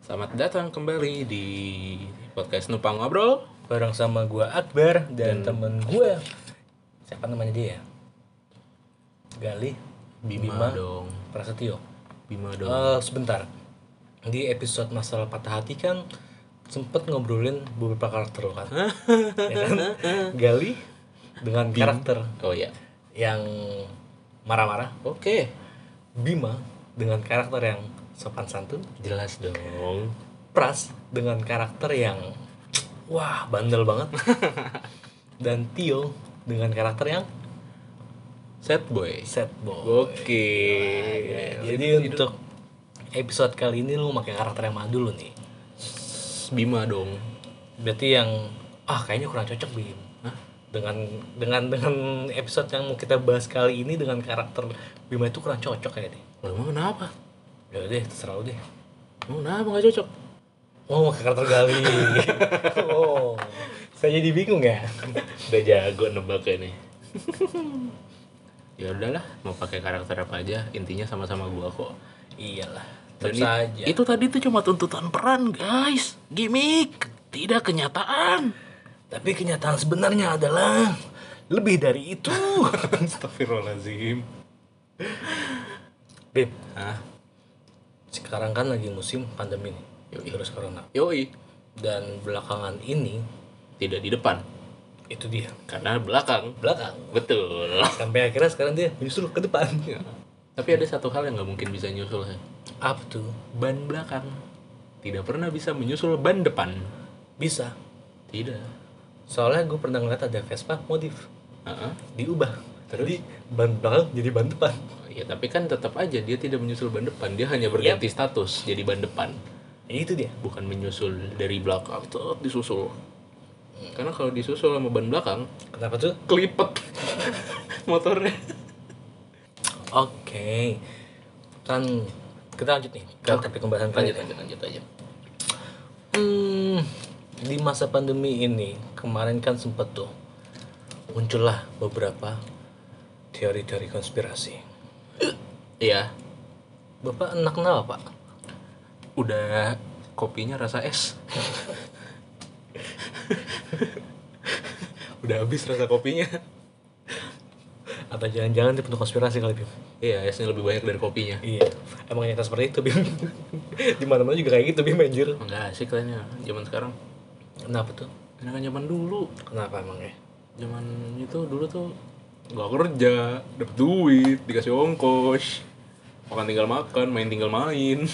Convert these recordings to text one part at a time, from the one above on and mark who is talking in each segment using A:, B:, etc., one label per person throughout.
A: Selamat datang kembali di podcast Numpang Ngobrol.
B: bareng sama gua Akbar dan, temen gua siapa namanya dia ya? Galih
A: Bima, Ah,
B: Bima,
A: dong.
B: Prasetyo
A: Bima dong.
B: Eh, sebentar di episode masalah patah hati kan sempet ngobrolin beberapa karakter lo kan, ya kan? Galih dengan karakter
A: Oh ya.
B: yang marah-marah
A: Oke.
B: Bima dengan karakter yang sopan santun
A: Jelas dong.
B: Pras dengan karakter yang wah bandel banget dan Tio dengan karakter yang
A: Set boy.
B: sad boy.
A: Oke.
B: Jadi untuk episode kali ini lu pakai karakter yang mana dulu nih?
A: Bima dong.
B: Berarti yang ah kayaknya kurang cocok Bim. Dengan dengan dengan episode yang mau kita bahas kali ini dengan karakter Bima itu kurang cocok kayaknya.
A: Lah, emang kenapa?
B: Ya deh, terserah lu deh.
A: Emang kenapa nggak cocok?
B: Oh, pakai karakter Gali. oh. Saya jadi bingung ya.
A: Udah jago nebaknya nih. ya udahlah, mau pakai karakter apa aja, intinya sama-sama gua kok.
B: Iyalah,
A: Dan
B: terus
A: i-
B: saja.
A: Itu tadi tuh cuma tuntutan peran, guys. Gimik, tidak kenyataan.
B: Tapi kenyataan sebenarnya adalah lebih dari itu.
A: Astagfirullahaladzim.
B: Bim,
A: Hah?
B: sekarang kan lagi musim pandemi nih,
A: Yoi.
B: virus corona.
A: Yoi,
B: Dan belakangan ini
A: tidak di depan
B: itu dia
A: karena belakang.
B: belakang.
A: Betul.
B: Sampai akhirnya sekarang dia justru ke depan.
A: Iya. Tapi ada satu hal yang nggak mungkin bisa nyusul ya.
B: Apa tuh?
A: Ban belakang tidak pernah bisa menyusul ban depan.
B: Bisa.
A: Tidak.
B: Soalnya gue pernah ngeliat ada Vespa modif
A: Heeh.
B: diubah. Jadi ban belakang jadi ban depan.
A: Ya tapi kan tetap aja dia tidak menyusul ban depan, dia hanya berganti status jadi ban depan,
B: Ya, itu dia.
A: bukan menyusul dari belakang tetap disusul. Karena kalau disusul sama ban belakang,
B: Kenapa tuh?
A: kelipet motornya.
B: Oke. Kan kita lanjut nih ke topik pembahasan kali
A: Lanjut lanjut lanjut aja.
B: Hmm, di masa pandemi ini kemarin kan sempet tuh muncullah beberapa teori-teori konspirasi.
A: Iya,
B: Bapak enak kenapa pak?
A: udah kopinya rasa es. udah habis rasa kopinya.
B: Atau jangan-jangan dia penuh konspirasi kali Bim?
A: Iya, esnya lebih banyak dari kopinya.
B: Iya, emang nyata seperti itu Bim. di mana-mana juga kayak gitu Bim anjir.
A: Enggak asik kayaknya zaman sekarang.
B: Kenapa tuh?
A: Karena kan zaman dulu,
B: Kenapa emang ya?
A: zaman itu dulu tuh nggak kerja, dapet duit, dikasih ongkos, makan tinggal makan, main tinggal main.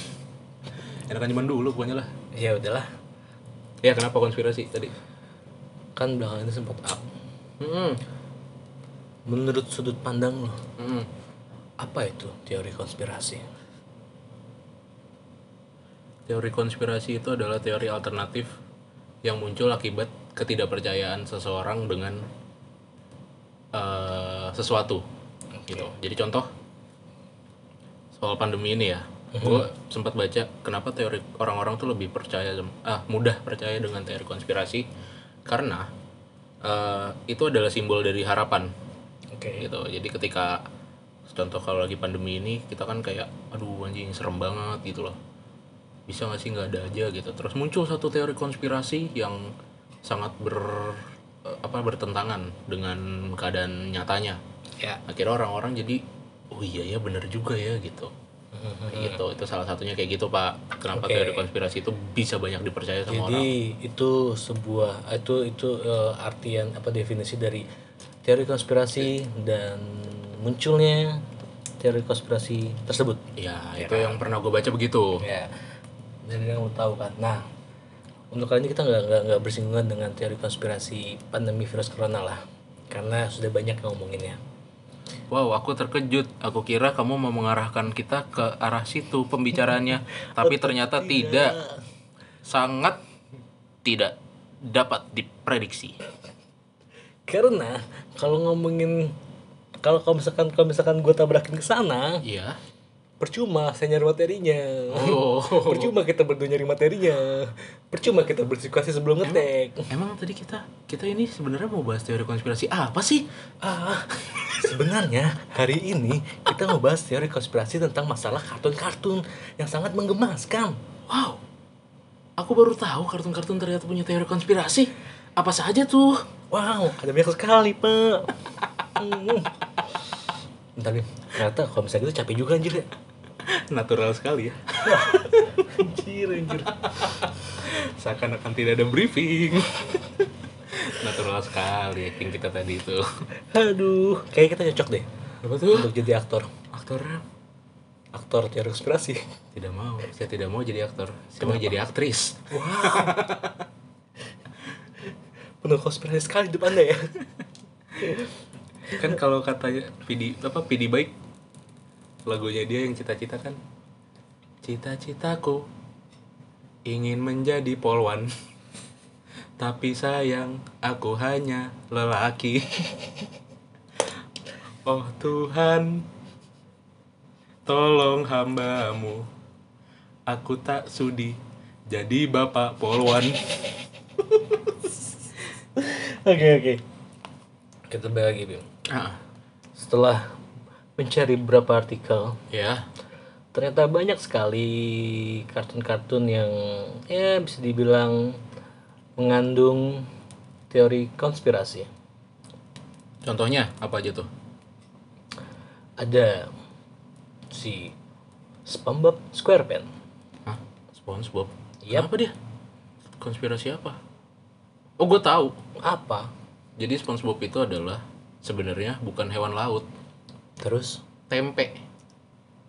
A: Enakan zaman dulu pokoknya lah.
B: Ya udahlah,
A: Ya kenapa konspirasi tadi?
B: kan belakangan ini sempat up.
A: Hmm,
B: Menurut sudut pandang lo,
A: hmm.
B: apa itu teori konspirasi?
A: Teori konspirasi itu adalah teori alternatif yang muncul akibat ketidakpercayaan seseorang dengan eh, sesuatu. Gitu. Jadi contoh soal pandemi ini ya, gue sempat baca kenapa teori orang-orang tuh lebih percaya sem- ah mudah percaya dengan teori konspirasi karena eh, itu adalah simbol dari harapan
B: Oke.
A: gitu jadi ketika contoh kalau lagi pandemi ini kita kan kayak aduh anjing serem banget gitu loh bisa nggak sih nggak ada aja gitu terus muncul satu teori konspirasi yang sangat ber eh, apa bertentangan dengan keadaan nyatanya
B: Ya.
A: akhirnya orang-orang jadi oh iya ya bener juga ya gitu Kayak gitu itu salah satunya kayak gitu pak kenapa
B: Hmm. Oke.
A: teori konspirasi itu bisa banyak dipercaya sama orang
B: Jadi itu sebuah itu itu eh, artian apa definisi dari teori konspirasi dan munculnya teori konspirasi tersebut.
A: ya itu yang pernah gue baca begitu
B: Ya. Jadi yang lo tahu kan. Nah, untuk kali ini kita nggak nggak nggak bersinggungan dengan teori konspirasi pandemi virus corona lah, karena sudah banyak yang ngomonginnya.
A: Wow, aku terkejut. Aku kira kamu mau mengarahkan kita ke arah situ pembicaraannya, tapi ternyata tidak. Sangat tidak dapat diprediksi.
B: Karena kalau ngomongin kalau kalau misalkan kalau misalkan gue tabrakin ke sana,
A: Iya.
B: percuma saya nyari materinya.
A: Oh.
B: Percuma kita berdua nyari materinya. Percuma kita berdiskusi sebelum ngetek.
A: Emang tadi kita kita ini sebenarnya mau bahas teori konspirasi apa sih?
B: Ah, sebenarnya hari ini kita mau bahas teori konspirasi tentang masalah kartun-kartun yang sangat menggemaskan.
A: Wow. Aku baru tahu kartun-kartun ternyata punya teori konspirasi. Apa saja tuh?
B: Wow, ada banyak sekali, Pak. Hmm. Bentar nih, ternyata kalau misalnya gitu capek juga anjir ya.
A: Natural sekali ya.
B: Anjir, anjir.
A: Seakan-akan tidak ada briefing. Natural sekali acting kita tadi itu.
B: Aduh, kayaknya kita cocok deh
A: Apa tuh?
B: untuk jadi aktor.
A: Aktornya
B: Aktor teori konspirasi.
A: tidak mau. Saya tidak mau jadi aktor. Saya mau jadi aktris.
B: Penuh konspirasi sekali hidup Anda ya.
A: kan kalau katanya PD apa PD baik lagunya dia yang cita-cita kan cita-citaku ingin menjadi polwan tapi sayang aku hanya lelaki oh Tuhan tolong hambamu aku tak sudi jadi bapak polwan
B: Oke, oke. Kita balik lagi, Bim.
A: ah
B: Setelah mencari beberapa artikel,
A: ya
B: ternyata banyak sekali kartun-kartun yang ya bisa dibilang mengandung teori konspirasi.
A: contohnya apa aja tuh
B: Ada si SpongeBob SquarePants.
A: Hah? SpongeBob?
B: Yap.
A: Kenapa dia? Konspirasi apa? Oh, gue tahu.
B: Apa?
A: Jadi SpongeBob itu adalah sebenarnya bukan hewan laut,
B: Terus?
A: tempe,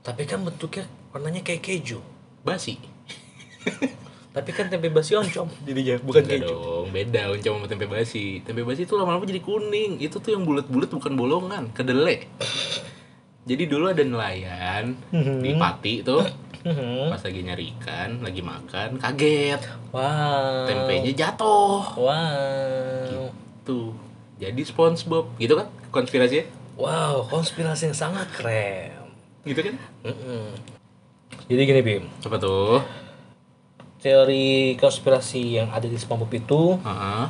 B: Tapi kan bentuknya warnanya kayak keju.
A: basi.
B: Tapi kan tempe basi oncom jadinya, ya, bukan
A: Enggak
B: keju.
A: dong, beda oncom sama tempe basi. Tempe basi itu lama-lama jadi kuning. Itu tuh yang bulat-bulat bukan bolongan, kedele. Jadi dulu ada nelayan di Pati tuh,
B: Mhm.
A: pas lagi nyari ikan, lagi makan, kaget,
B: Wow.
A: tempenya jatuh.
B: Wow.
A: Tuh. Jadi SpongeBob, gitu kan konspirasinya?
B: Wow, konspirasi yang sangat keren.
A: Gitu kan?
B: Mm-mm. Jadi gini Bim,
A: Apa tuh?
B: teori konspirasi yang ada di SpongeBob itu
A: Heeh.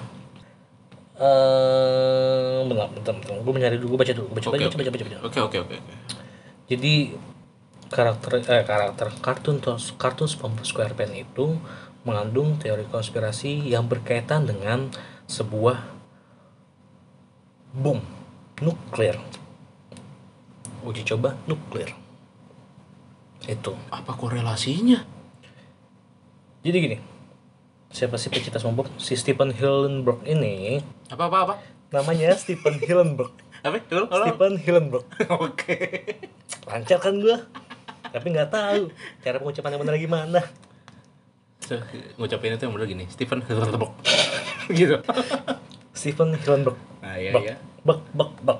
B: eh bentar, bentar, bentar. Gue mencari dulu, gue baca dulu, gua baca,
A: Oke,
B: baca, baca, baca, baca.
A: Oke oke oke.
B: Jadi karakter eh karakter kartun tos- kartun SpongeBob SquarePants itu mengandung teori konspirasi yang berkaitan dengan sebuah bom nuklir. Uji coba nuklir. Itu.
A: Apa korelasinya?
B: Jadi gini, siapa sih pecinta SpongeBob? Si Stephen Hillenburg ini,
A: Apa apa apa?
B: namanya Stephen Hillenburg.
A: Apa? Halo halo.
B: Stephen Hillenburg.
A: Oke.
B: Lancar kan gua? Tapi nggak tahu cara pengucapannya benar gimana.
A: So, ngucapin itu yang bener gini, Stephen Hillenburg. gitu.
B: Stephen Hillenburg.
A: Nah, iya
B: Bak,
A: iya.
B: bak, bak, bak.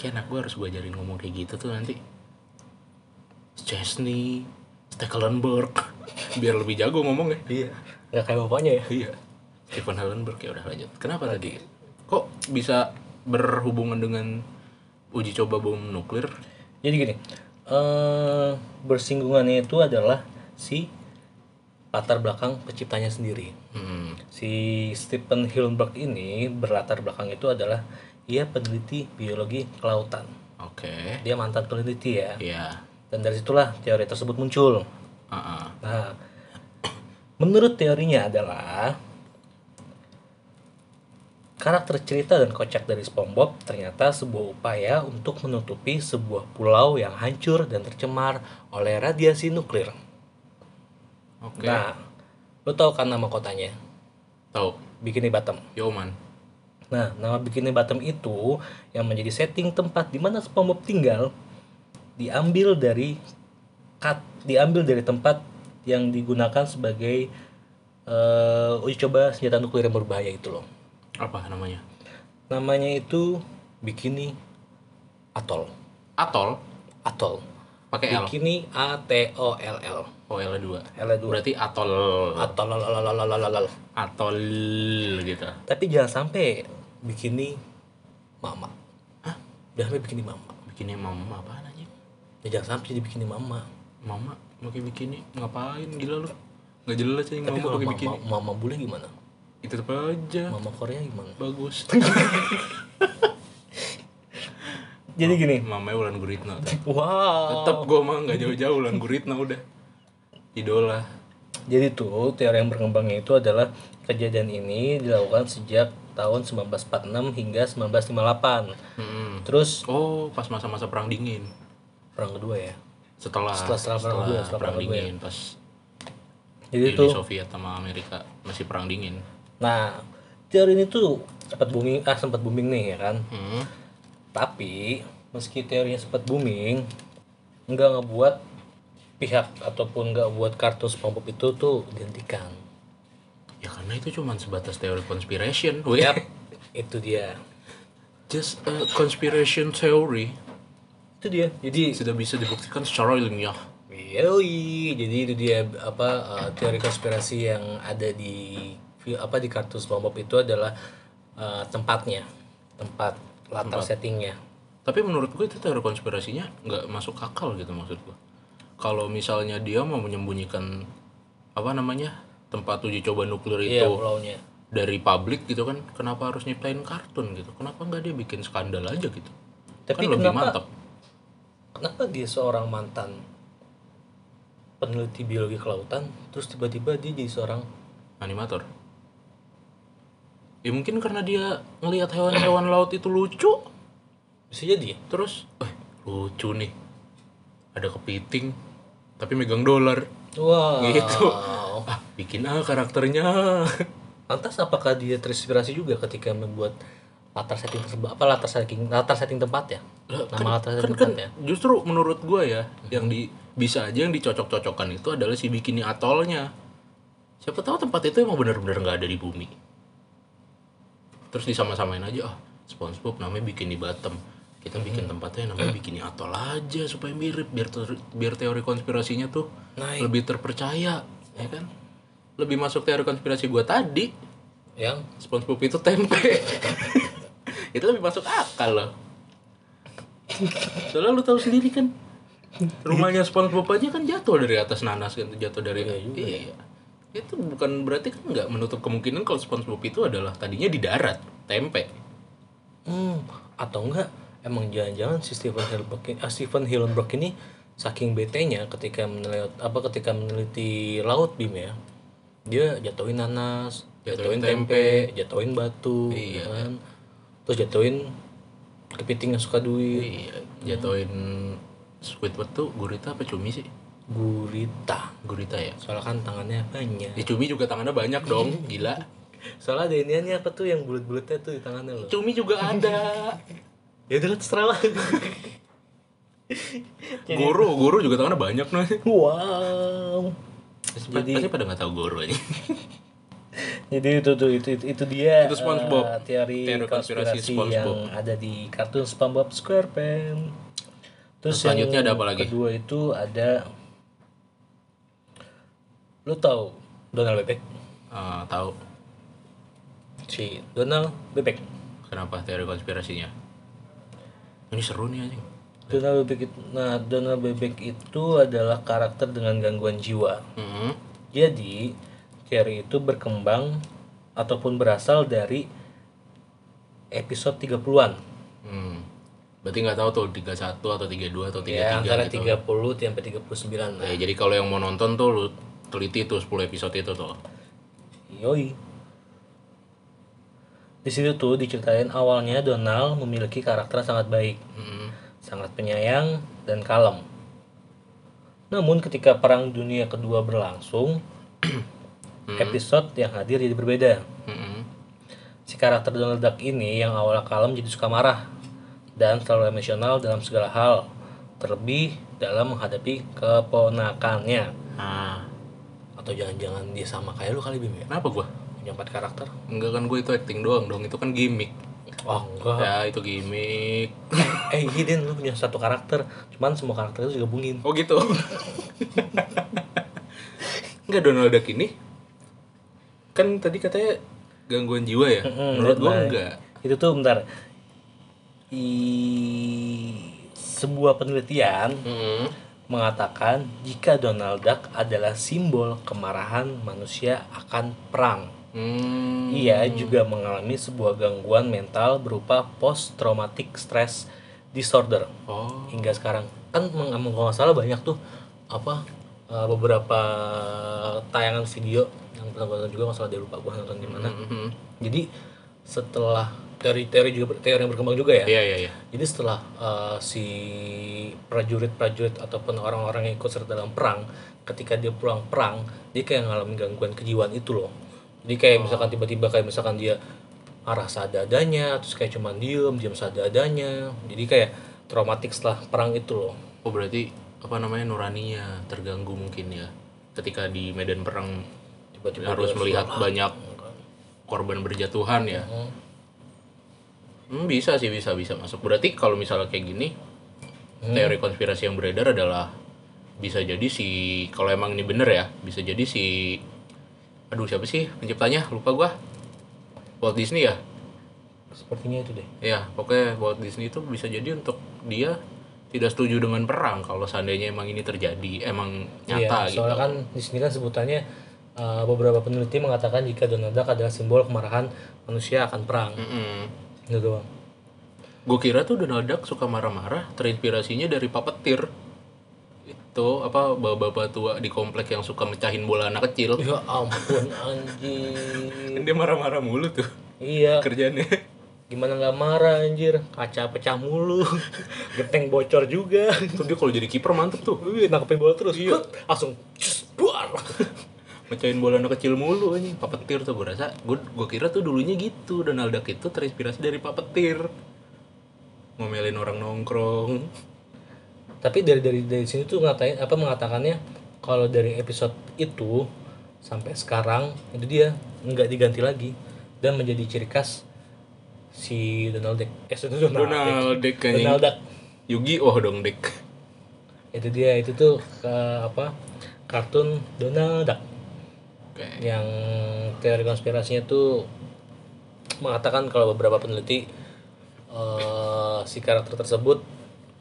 A: Kayak anak gue harus gue ajarin ngomong kayak gitu tuh nanti. Chesney, Stekelenburg. Biar lebih jago ngomongnya. Iya.
B: Nggak kayak bapaknya ya.
A: Iya. Stephen Hillenburg ya udah lanjut. Kenapa tadi? Kok bisa berhubungan dengan uji coba bom nuklir?
B: Jadi gini, eh bersinggungannya itu adalah si latar belakang penciptanya sendiri.
A: Hmm.
B: Si Stephen Hillenburg ini berlatar belakang itu adalah ia peneliti biologi kelautan.
A: Oke.
B: Dia mantan peneliti ya.
A: Iya.
B: Dan dari situlah teori tersebut muncul.
A: Ah, ah.
B: Nah, menurut teorinya adalah karakter cerita dan kocak dari SpongeBob ternyata sebuah upaya untuk menutupi sebuah pulau yang hancur dan tercemar oleh radiasi nuklir.
A: Oke.
B: Nah, lo tau kan nama kotanya?
A: Tahu.
B: Bikini Bottom.
A: Yoman.
B: Nah, nama Bikini Bottom itu yang menjadi setting tempat di mana SpongeBob tinggal diambil dari kat- diambil dari tempat yang digunakan sebagai eh, uji coba senjata nuklir yang berbahaya itu loh.
A: Apa namanya?
B: Namanya itu Bikini Atoll.
A: Atol
B: Atoll.
A: pakai L.
B: Bikini A T O L L.
A: Oh, L 2.
B: L dua.
A: Berarti atol
B: Atoll. lalalalalalalalal.
A: atol gitu.
B: Tapi jangan sampai Bikini Mama. Hah? Jangan sampai Bikini Mama.
A: Bikinnya mama apa aja?
B: Ya jangan sampai jadi Bikini Mama.
A: Mama pakai bikini ngapain gila lu? Nggak jelas aja mama
B: Tapi kalau
A: pakai
B: mama,
A: bikini.
B: mama bule gimana?
A: Itu tetap aja.
B: Mama Korea gimana?
A: Bagus.
B: Jadi gini.
A: Mamanya Wulan Guritno.
B: Wow.
A: Tetap gua mah nggak jauh-jauh Wulan Guritno udah. Idola.
B: Jadi tuh teori yang berkembangnya itu adalah kejadian ini dilakukan sejak tahun 1946 hingga 1958.
A: Mm-mm.
B: Terus
A: Oh, pas masa-masa perang dingin.
B: perang kedua ya.
A: Setelah
B: Setelah- setelah perang
A: setelah
B: kedua,
A: perang
B: setelah perang ya. kedua
A: dingin pas
B: Jadi
A: Uni
B: tuh
A: Soviet sama Amerika masih perang dingin.
B: nah teori ini tuh sempat booming ah sempat booming nih ya kan.
A: Hmm.
B: Tapi meski teorinya sempat booming, nggak ngebuat pihak ataupun nggak buat kartu SpongeBob itu tuh dihentikan.
A: Ya karena itu cuman sebatas teori conspiration. we
B: Yap, itu dia.
A: Just a conspiration theory
B: Itu dia. Jadi
A: tidak bisa dibuktikan secara ilmiah.
B: Yoi, jadi itu dia apa eh, teori konspirasi yang ada di apa di kartu SpongeBob itu adalah eh, tempatnya, tempat latar settingnya.
A: Tapi menurut gue itu teori konspirasinya nggak masuk akal gitu maksud gue. Kalau misalnya dia mau menyembunyikan apa namanya tempat uji coba nuklir itu
B: Iya, pulaunya.
A: dari publik gitu kan, kenapa harus nyiptain kartun gitu? Kenapa nggak dia bikin skandal aja gitu?
B: Tapi
A: kan lebih
B: kenapa-
A: mantap.
B: Kenapa dia seorang mantan peneliti biologi kelautan, terus tiba-tiba dia jadi seorang
A: animator ya mungkin karena dia ngelihat hewan-hewan laut itu lucu
B: bisa jadi ya?
A: terus eh lucu nih ada kepiting tapi megang dolar
B: Wow.
A: Gitu. ah bikin ah karakternya
B: Lantas apakah dia terinspirasi juga ketika membuat latar setting tersebut? Apa latar setting latar setting tempatnya?
A: Lah,
B: Nama ya? latar
A: kan
B: setting
A: kan
B: tempatnya?
A: justru menurut gue ya yang di bisa aja yang dicocok-cocokkan itu adalah si bikini atolnya siapa tahu tempat itu emang bener-bener nggak ada di bumi terus disama-samain aja ah SpongeBob namanya bikini Batam kita bikin tempatnya namanya bikini atol aja supaya mirip biar ter- biar teori konspirasinya tuh
B: Naik.
A: lebih terpercaya ya kan lebih masuk teori konspirasi gue tadi
B: Yang
A: SpongeBob itu tempe itu lebih masuk akal loh soalnya lu tahu sendiri kan rumahnya SpongeBob aja kan jatuh dari atas nanas kan jatuh dari
B: Iya juga
A: iya itu bukan berarti kan nggak menutup kemungkinan kalau SpongeBob itu adalah tadinya di darat tempe
B: Hmm, atau enggak emang jangan-jangan si Stephen Hillenburg ini, ah, Stephen Hillenburg ini saking bete-nya ketika meneliti apa ketika meneliti laut Bim ya. Dia jatuhin nanas,
A: Jatuhin
B: jatuhin tempe, jatuhin batu,
A: Iya.
B: ya kan? Terus jatuhin kepiting yang suka duit,
A: iya jatuhin Squidward tuh gurita apa cumi sih
B: gurita.
A: gurita ya
B: Soalnya kan tangannya
A: ya
B: banyak.
A: cumi juga tangannya banyak dong gila
B: Soalnya ada iniannya apa tuh yang bulat-bulatnya tuh di tangannya loh.
A: cumi juga ada
B: Ya udah terserah lah.
A: guru guru juga tangannya banyak nih
B: wow.
A: Jadi, pasti pada nggak tahu guru aja.
B: Jadi itu tuh itu itu, itu dia
A: Itu SpongeBob.
B: eh, teori,
A: Teori konspirasi
B: konspirasi,
A: SpongeBob.
B: yang ada di kartun SpongeBob SquarePants. Terus,
A: Terus selanjutnya
B: yang
A: ada apa lagi?
B: Kedua itu ada lu tahu Donald Bebek?
A: Eh, tahu
B: Si Donald Bebek.
A: kenapa teori konspirasinya? Ini seru nih anjing.
B: Donald Bebek itu, nah Donald Bebek itu adalah karakter dengan gangguan jiwa.
A: Mm-mm.
B: Jadi, teori itu berkembang ataupun berasal dari episode 30-an.
A: Hmm. Berarti nggak tahu tuh 31 atau 32 atau 33
B: Ya, antara
A: gitu.
B: 30 sampai 39 lah.
A: Ya, jadi kalau yang mau nonton tuh lu teliti tuh 10 episode itu tuh.
B: Yoi. Di situ tuh diceritain awalnya Donald memiliki karakter yang sangat baik,
A: Mm-mm.
B: sangat penyayang dan kalem. Namun ketika Perang Dunia Kedua berlangsung, episode yang hadir jadi berbeda.
A: Mm-mm.
B: Si karakter Donald Duck ini yang awalnya kalem jadi suka marah dan selalu emosional dalam segala hal, terlebih dalam menghadapi keponakannya.
A: Ah,
B: Atau jangan-jangan dia sama kayak lu kali Bim ya?
A: kenapa gua?
B: Punya empat karakter?
A: Enggak kan gue itu acting doang dong, itu kan gimmick.
B: Oh enggak.
A: Ya, itu gimmick.
B: eh hidden lu punya satu karakter cuman semua karakter itu digabungin
A: Oh gitu. Enggak Donald Duck ini kan tadi katanya gangguan jiwa ya.
B: Mm-mm,
A: Menurut gua
B: deadline.
A: enggak.
B: itu tuh bentar I... sebuah penelitian
A: Mm-mm.
B: mengatakan jika Donald Duck adalah simbol kemarahan manusia akan perang
A: Hmm.
B: ia juga mengalami sebuah gangguan mental berupa post traumatic stress disorder
A: Oh.
B: hingga sekarang kan meng- kalau nggak salah banyak tuh apa eh, eh, beberapa tayangan video yang pernah gue nonton juga masalah dia lupa gue nonton di mana.
A: Mhm.
B: Jadi setelah teori-teori juga teori yang berkembang juga ya.
A: Iya iya iya.
B: Jadi setelah eh, si prajurit-prajurit ataupun orang-orang yang ikut serta dalam perang, ketika dia pulang perang, dia kayak ngalamin gangguan kejiwaan itu loh. Jadi kayak misalkan tiba-tiba kayak misalkan dia arah sadadanya, terus kayak cuman diem, diem sadadanya. Jadi kayak traumatik setelah perang itu loh.
A: Oh berarti apa namanya nuraninya terganggu mungkin ya ketika di medan perang
B: Tiba-tiba
A: harus
B: dia
A: melihat
B: suara.
A: banyak korban berjatuhan ya.
B: Hmm.
A: Hmm, bisa sih bisa bisa masuk. Berarti kalau misalnya kayak gini teori konspirasi yang beredar adalah bisa jadi si kalau emang ini bener ya bisa jadi si aduh siapa sih penciptanya lupa gua Walt Disney ya
B: Sepertinya itu deh.
A: ya pokoknya Walt Disney itu bisa jadi untuk dia tidak setuju dengan perang kalau seandainya emang ini terjadi emang nyata
B: Iya,
A: gitu
B: soalnya kan di sini kan sebutannya eh, beberapa peneliti mengatakan jika Donald Duck adalah simbol kemarahan manusia akan perang. Gitu doang.
A: gue kira tuh Donald Duck suka marah-marah terinspirasinya dari papetir itu apa bapak-bapak tua di komplek yang suka mecahin bola anak kecil
B: Ya ampun anjir.
A: dia marah-marah mulu tuh
B: Iya,
A: kerjanya
B: gimana nggak marah anjir? Kaca pecah mulu. Genteng bocor juga.
A: Tuh dia kalau jadi kiper mantep tuh.
B: Wih, nangkepin bola terus. Hut, langsung cus, buar.
A: Mecahin bola anak kecil mulu anjing. Papetir tuh gue rasa. Gue gue kira tuh dulunya gitu. Donald Duck itu terinspirasi dari papetir. Ngomelin orang nongkrong.
B: Tapi dari dari dari sini tuh ngatain apa mengatakannya kalau dari episode itu sampai sekarang itu dia nggak diganti lagi dan menjadi ciri khas si Donald Duck. Eh, Donald, Duck.
A: Donald Duck anjing.
B: Donald Duck.
A: Yugi oh dong Duck.
B: Itu dia itu tuh eh, apa kartun Donald Duck.
A: Kayak
B: yang teori konspirasinya tuh mengatakan kalau beberapa peneliti eh, si karakter tersebut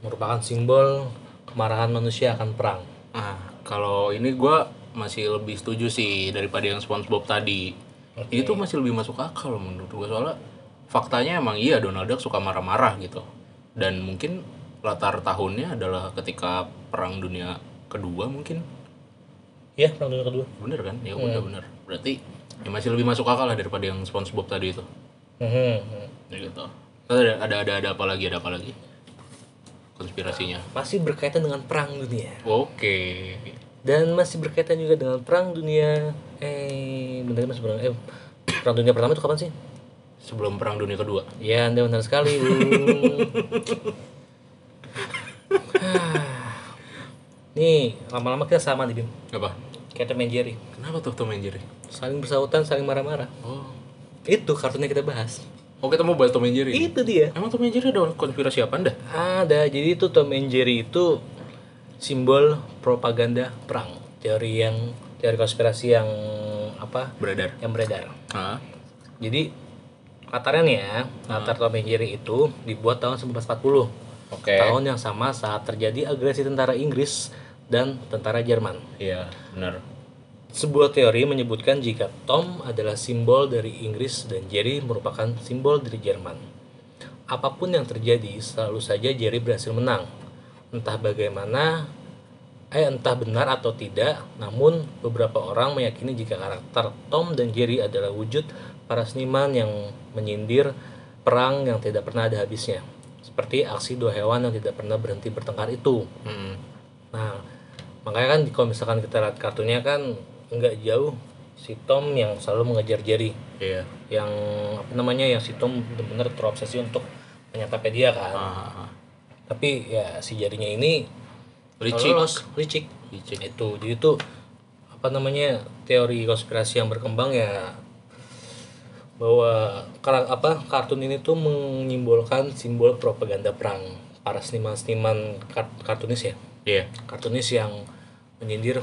B: merupakan simbol kemarahan manusia akan perang.
A: ah kalau ini gue masih lebih setuju sih daripada yang SpongeBob tadi. Ini tuh masih lebih masuk akal menurut gue soalnya faktanya emang iya Donald Duck suka marah-marah gitu. Dan mungkin latar tahunnya adalah ketika perang dunia kedua mungkin
B: Ya, perang dunia kedua.
A: bener kan ya udah bener berarti ya masih lebih masuk akal lah daripada yang SpongeBob tadi itu
B: Mhm.
A: ya gitu Terus ada ada ada ada apa lagi ada apa lagi konspirasinya
B: Masih berkaitan dengan perang dunia
A: oke
B: dan masih berkaitan juga dengan perang dunia eh benar masih perang eh perang dunia pertama itu kapan sih?
A: sebelum perang dunia kedua
B: Ya, Anda benar sekali, Bu. Nih, lama-lama kita sama nih, Bim.
A: apa
B: Kayak Tom and Jerry.
A: kenapa tuh Tom and Jerry
B: Saling bersautan, saling marah-marah.
A: oh
B: Itu kartunya kita bahas.
A: oh kita mau bahas Tom and Jerry
B: Itu dia.
A: emang Tom and Jerry ada konspirasi apa anda
B: Ada, jadi itu Tom and Jerry itu simbol propaganda perang. Teori yang teori konspirasi yang apa?
A: beredar
B: Yang beredar.
A: ah
B: Jadi latarnya nih ya, latar Tom and Jerry itu dibuat tahun 1940.
A: oke
B: tahun yang sama saat terjadi agresi tentara Inggris dan tentara Jerman.
A: iya benar
B: Sebuah teori menyebutkan jika Tom adalah simbol dari Inggris dan Jerry merupakan simbol dari Jerman. Apapun yang terjadi, selalu saja Jerry berhasil menang. Entah bagaimana, eh entah benar atau tidak, namun beberapa orang meyakini jika karakter Tom dan Jerry adalah wujud para seniman yang menyindir perang yang tidak pernah ada habisnya. Seperti aksi dua hewan yang tidak pernah berhenti bertengkar itu.
A: Mm-mm.
B: Nah, makanya kan kalau misalkan kita lihat kartunya kan nggak jauh si Tom yang selalu mengejar Jerry,
A: iya
B: yang apa namanya yang si Tom benar-benar terobsesi untuk menyatapnya dia kan.
A: ah
B: Tapi ya si jarinya ini
A: licik
B: lolos, licik.
A: licik
B: Itu jadi tuh apa namanya teori konspirasi yang berkembang ya bahwa kar- apa kartun ini tuh menyimbolkan simbol propaganda perang para seniman-seniman kart- kartunis ya
A: iya
B: kartunis yang menyindir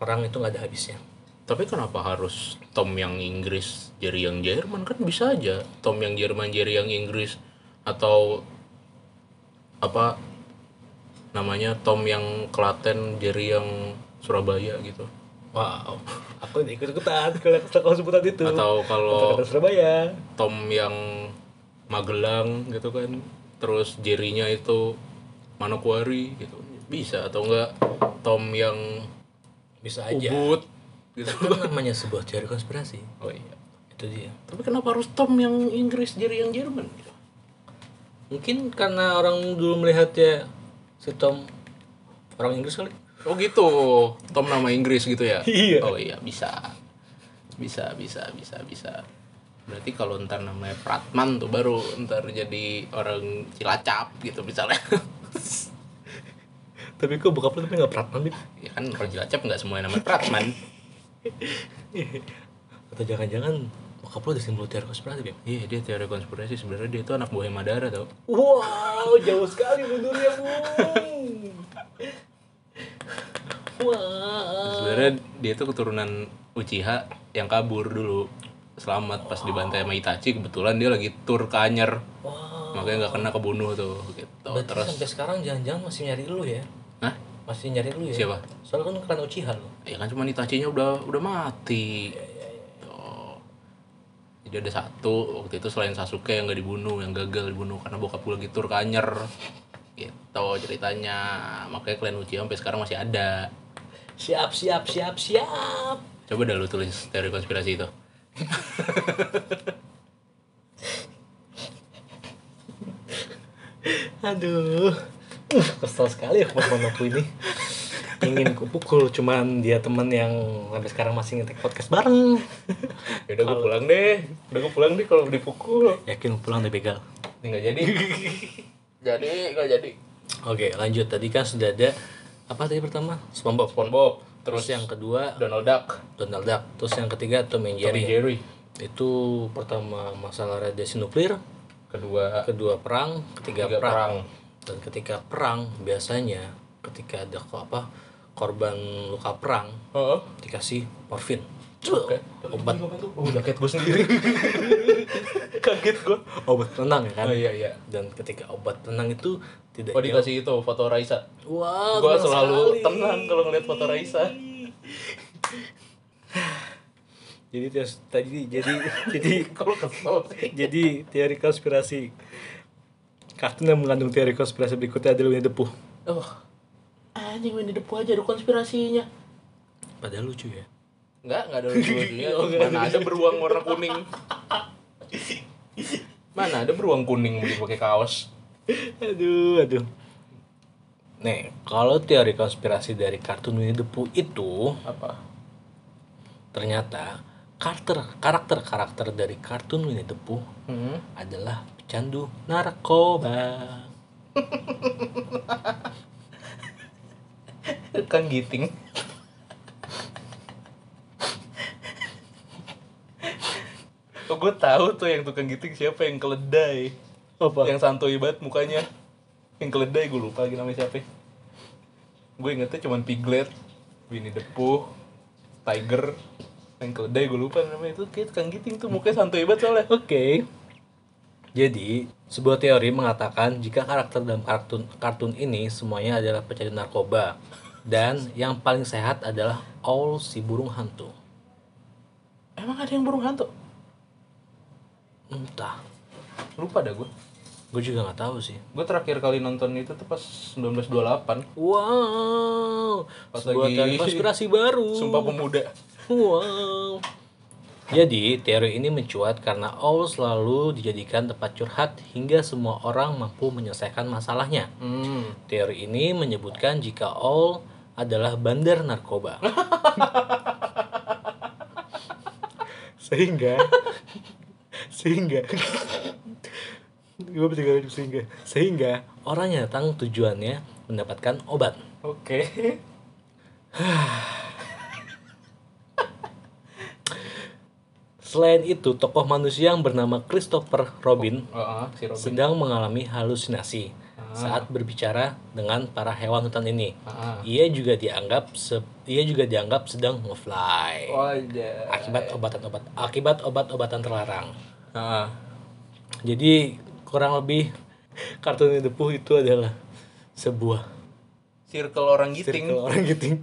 B: perang itu nggak ada habisnya.
A: Tapi kenapa harus Tom yang Inggris, Jerry yang Jerman? Kan bisa aja Tom yang Jerman, Jerry yang Inggris atau apa namanya Tom yang Klaten, Jerry yang Surabaya gitu.
B: Wow, aku ikut ikutan kalau kalau sebutan itu.
A: Atau kalau
B: Kata Surabaya.
A: Tom yang Magelang gitu kan. Terus Jerry-nya itu Manokwari gitu. Bisa atau enggak Tom yang
B: bisa aja
A: Ubud gitu
B: itu kan namanya sebuah teori konspirasi
A: oh iya
B: itu dia
A: tapi kenapa harus Tom yang Inggris jadi yang Jerman gitu
B: mungkin karena orang dulu melihatnya si Tom orang Inggris kali
A: oh gitu Tom nama Inggris gitu ya
B: Iya.
A: oh iya bisa bisa bisa bisa bisa berarti kalau ntar namanya Pratman tuh baru ntar jadi orang Cilacap gitu misalnya
B: tapi kok buka tapi nggak Pratman Bib?
A: ya kan orang Cilacap nggak semuanya namanya Pratman
B: atau jangan-jangan bokap lo disimbol teori konspirasi Bim?
A: iya dia teori konspirasi sebenarnya dia itu anak buahnya Madara tau
B: wow jauh sekali mundurnya Bung
A: Eh.
B: wah
A: sebenarnya dia itu keturunan Uchiha yang kabur dulu selamat pas dibantai sama Itachi kebetulan dia lagi tur ke Anyer
B: wah
A: makanya nggak kena kebunuh tuh gitu
B: berarti
A: terus
B: Oh, sampai sekarang jangan-jangan masih nyari lu ya
A: nah
B: masih nyari lu ya
A: Siapa?
B: soalnya kan klan Uchiha lo
A: ya kan cuma Itachinya udah udah mati Tuh. jadi ada satu waktu itu selain Sasuke yang nggak dibunuh yang gagal dibunuh karena bokap gue lagi tur ke Anyer gitu ceritanya makanya klan Uchiha sampai sekarang masih ada
B: siap siap siap siap
A: coba dah lu tulis teori konspirasi itu
B: aduh Uh, kesel sekali aku sama aku ini ingin kupukul cuman dia teman yang sampai sekarang masih ngetek podcast bareng
A: ya udah gue pulang deh udah gue pulang deh kalau dipukul
B: yakin lu pulang deh begal
A: Ini nggak jadi. jadi nggak jadi.
B: oke lanjut tadi kan sudah ada apa tadi pertama SpongeBob
A: SpongeBob,
B: terus yang kedua
A: Donald Duck,
B: Donald Duck terus yang ketiga Tom and
A: Jerry.
B: Jerry
A: Jerry.
B: itu pertama masalah radiasi nuklir
A: Kedua
B: kedua perang ketiga,
A: Ketiga
B: perang.
A: perang.
B: dan ketika perang biasanya ketika ada ko- apa korban luka perang
A: Heeh.
B: dikasih morfin
A: Oke.
B: obat
A: Oh,
B: udah kaget gue sendiri kaget gue obat tenang ya kan
A: Oh, iya iya.
B: dan ketika obat tenang itu tidak
A: Gua dikasih itu foto Raisa.
B: wow
A: Gua
B: tenang
A: selalu
B: sekali.
A: tenang kalau ngeliat foto Raisa.
B: jadi terus tadi jadi jadi
A: Kalau kesel sih.
B: jadi teori konspirasi kartun yang mengandung teori konspirasi berikutnya adalah Winnie the Pooh
A: Oh. Anjing Winnie the Pooh aja ada konspirasinya.
B: padahal lucu ya
A: Enggak, enggak ada lucu-lucunya.
B: Iya,
A: Mana ada beruang warna kuning. Mana ada beruang kuning beli pakai kaos.
B: aduh aduh nih kalau teori konspirasi dari kartun Winnie the Pooh itu
A: Apa?
B: ternyata karakter karakter karakter dari kartun Winnie the Pooh
A: Hmm.
B: adalah pecandu narkoba
A: Kan giting. Oh, gue tahu tuh yang tukang giting siapa yang keledai.
B: apa
A: Yang santuy banget mukanya. Yang keledai gue lupa lagi namanya siapa. Gue ingetnya cuman Piglet, Winnie the Pooh, Tiger, yang keledai gue lupa namanya itu kayak tukang giting tuh mukanya santuy banget soalnya.
B: Oke. Jadi, sebuah teori mengatakan jika karakter dalam kartun kartun ini semuanya adalah pecandu narkoba dan yang paling sehat adalah Owl si burung hantu.
A: Emang ada yang burung hantu?
B: Entah.
A: Lupa dah gue.
B: Gue juga nggak tahu sih.
A: Gue terakhir kali nonton itu tuh pas 1928.
B: Wow.
A: Pas
B: sebuah
A: lagi-
B: teori konspirasi baru.
A: Sumpah Pemuda.
B: Wow. Jadi, teori ini mencuat karena Owl selalu dijadikan tempat curhat hingga semua orang mampu menyelesaikan masalahnya.
A: Hmm.
B: Teori ini menyebutkan jika All adalah bandar narkoba. sehingga sehingga gue bisa ngalamin sehingga sehingga orang yang datang tujuannya mendapatkan obat.
A: Oke.
B: Selain itu, tokoh manusia yang bernama Christopher Robin
A: Heeh, si Robin.
B: sedang mengalami halusinasi saat berbicara dengan para hewan hutan ini.
A: Heeh.
B: Ia juga dianggap se- ia juga dianggap sedang ngefly
A: Wajah.
B: akibat obatan-obat akibat obat-obatan terlarang.
A: Heeh.
B: Jadi kurang lebih kartun Winnie the Pooh itu adalah sebuah
A: Circle orang giting.
B: circle orang giting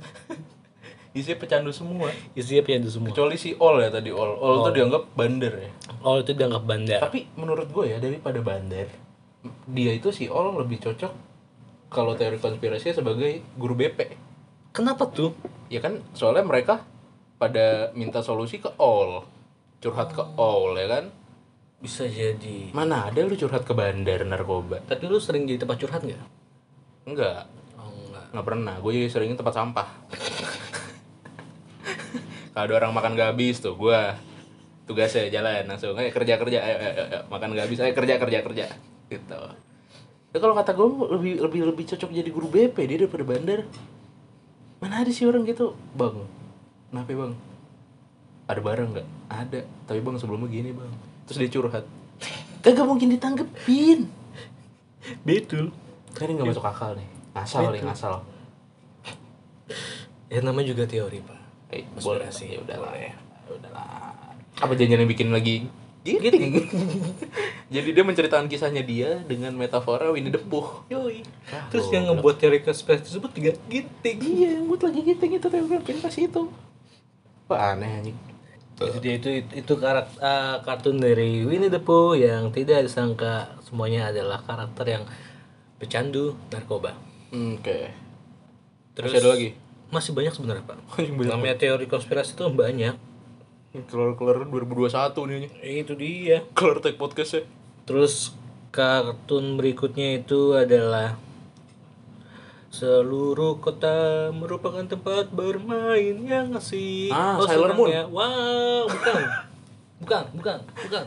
A: Isinya pecandu semua.
B: isinya pecandu semua.
A: Kecuali si Ol ya tadi Ol. Ol tuh dianggap bandar ya.
B: Oh itu dianggap bandar.
A: Tapi menurut gue ya daripada bandar, dia itu si Ol lebih cocok kalau teori konspirasinya sebagai guru BP.
C: Kenapa tuh?
A: Ya kan soalnya mereka pada minta solusi ke all. Curhat ke all ya kan.
B: Bisa jadi.
A: Mana ada lu curhat ke bandar narkoba?
B: Tapi lu sering jadi tempat curhat nggak?
A: Enggak,
B: Oh enggak.
A: nggak pernah. Gue seringnya tempat sampah. Kalau ada orang makan gak habis tuh, gue tugasnya jalan langsung. Ayo kerja kerja, ayo, ayo, ayo, makan gak habis, ayo kerja kerja kerja. Gitu. Ya kalau kata gue lebih lebih lebih cocok jadi guru BP dia daripada bandar. Mana ada sih orang gitu, bang? Kenapa ya, bang? Ada barang nggak? Ada. Tapi bang sebelumnya gini bang. Terus dia curhat. Kagak mungkin ditanggepin.
C: Betul.
A: Kan ini nggak masuk akal nih. Ngasal nih ngasal.
B: Ya namanya juga teori pak.
A: Eh, boleh
B: Konspirasi.
A: sih. Ya udahlah ya. Udahlah. Apa janjian yang bikin lagi? Giting. Jadi dia menceritakan kisahnya dia dengan metafora Winnie the Pooh.
B: Yoi.
A: Ah,
B: Terus yang
A: goblok.
B: ngebuat teori konspirasi tersebut juga giting.
A: Iya, buat lagi giting itu teori konspirasi itu. Wah, aneh anjing.
C: Jadi dia itu itu
B: Itu karak, eh, kartun dari Winnie the Pooh yang tidak disangka semuanya adalah karakter yang pecandu narkoba.
A: Hmm, Oke.
B: Terus
A: Masih ada lagi?
B: Masih banyak sebenarnya pak.
A: Anjing banyak.
B: Namanya teori konspirasi itu banyak.
A: Keluar-keluar 2021 nih anjing.
B: Itu dia.
A: Keluar tag podcast ya.
B: Terus kartun berikutnya itu adalah Seluruh kota merupakan tempat bermain yang asik.
A: Ah, Sailor
B: senang
A: Moon.
B: ya. Wow, bukan. bukan, bukan, bukan.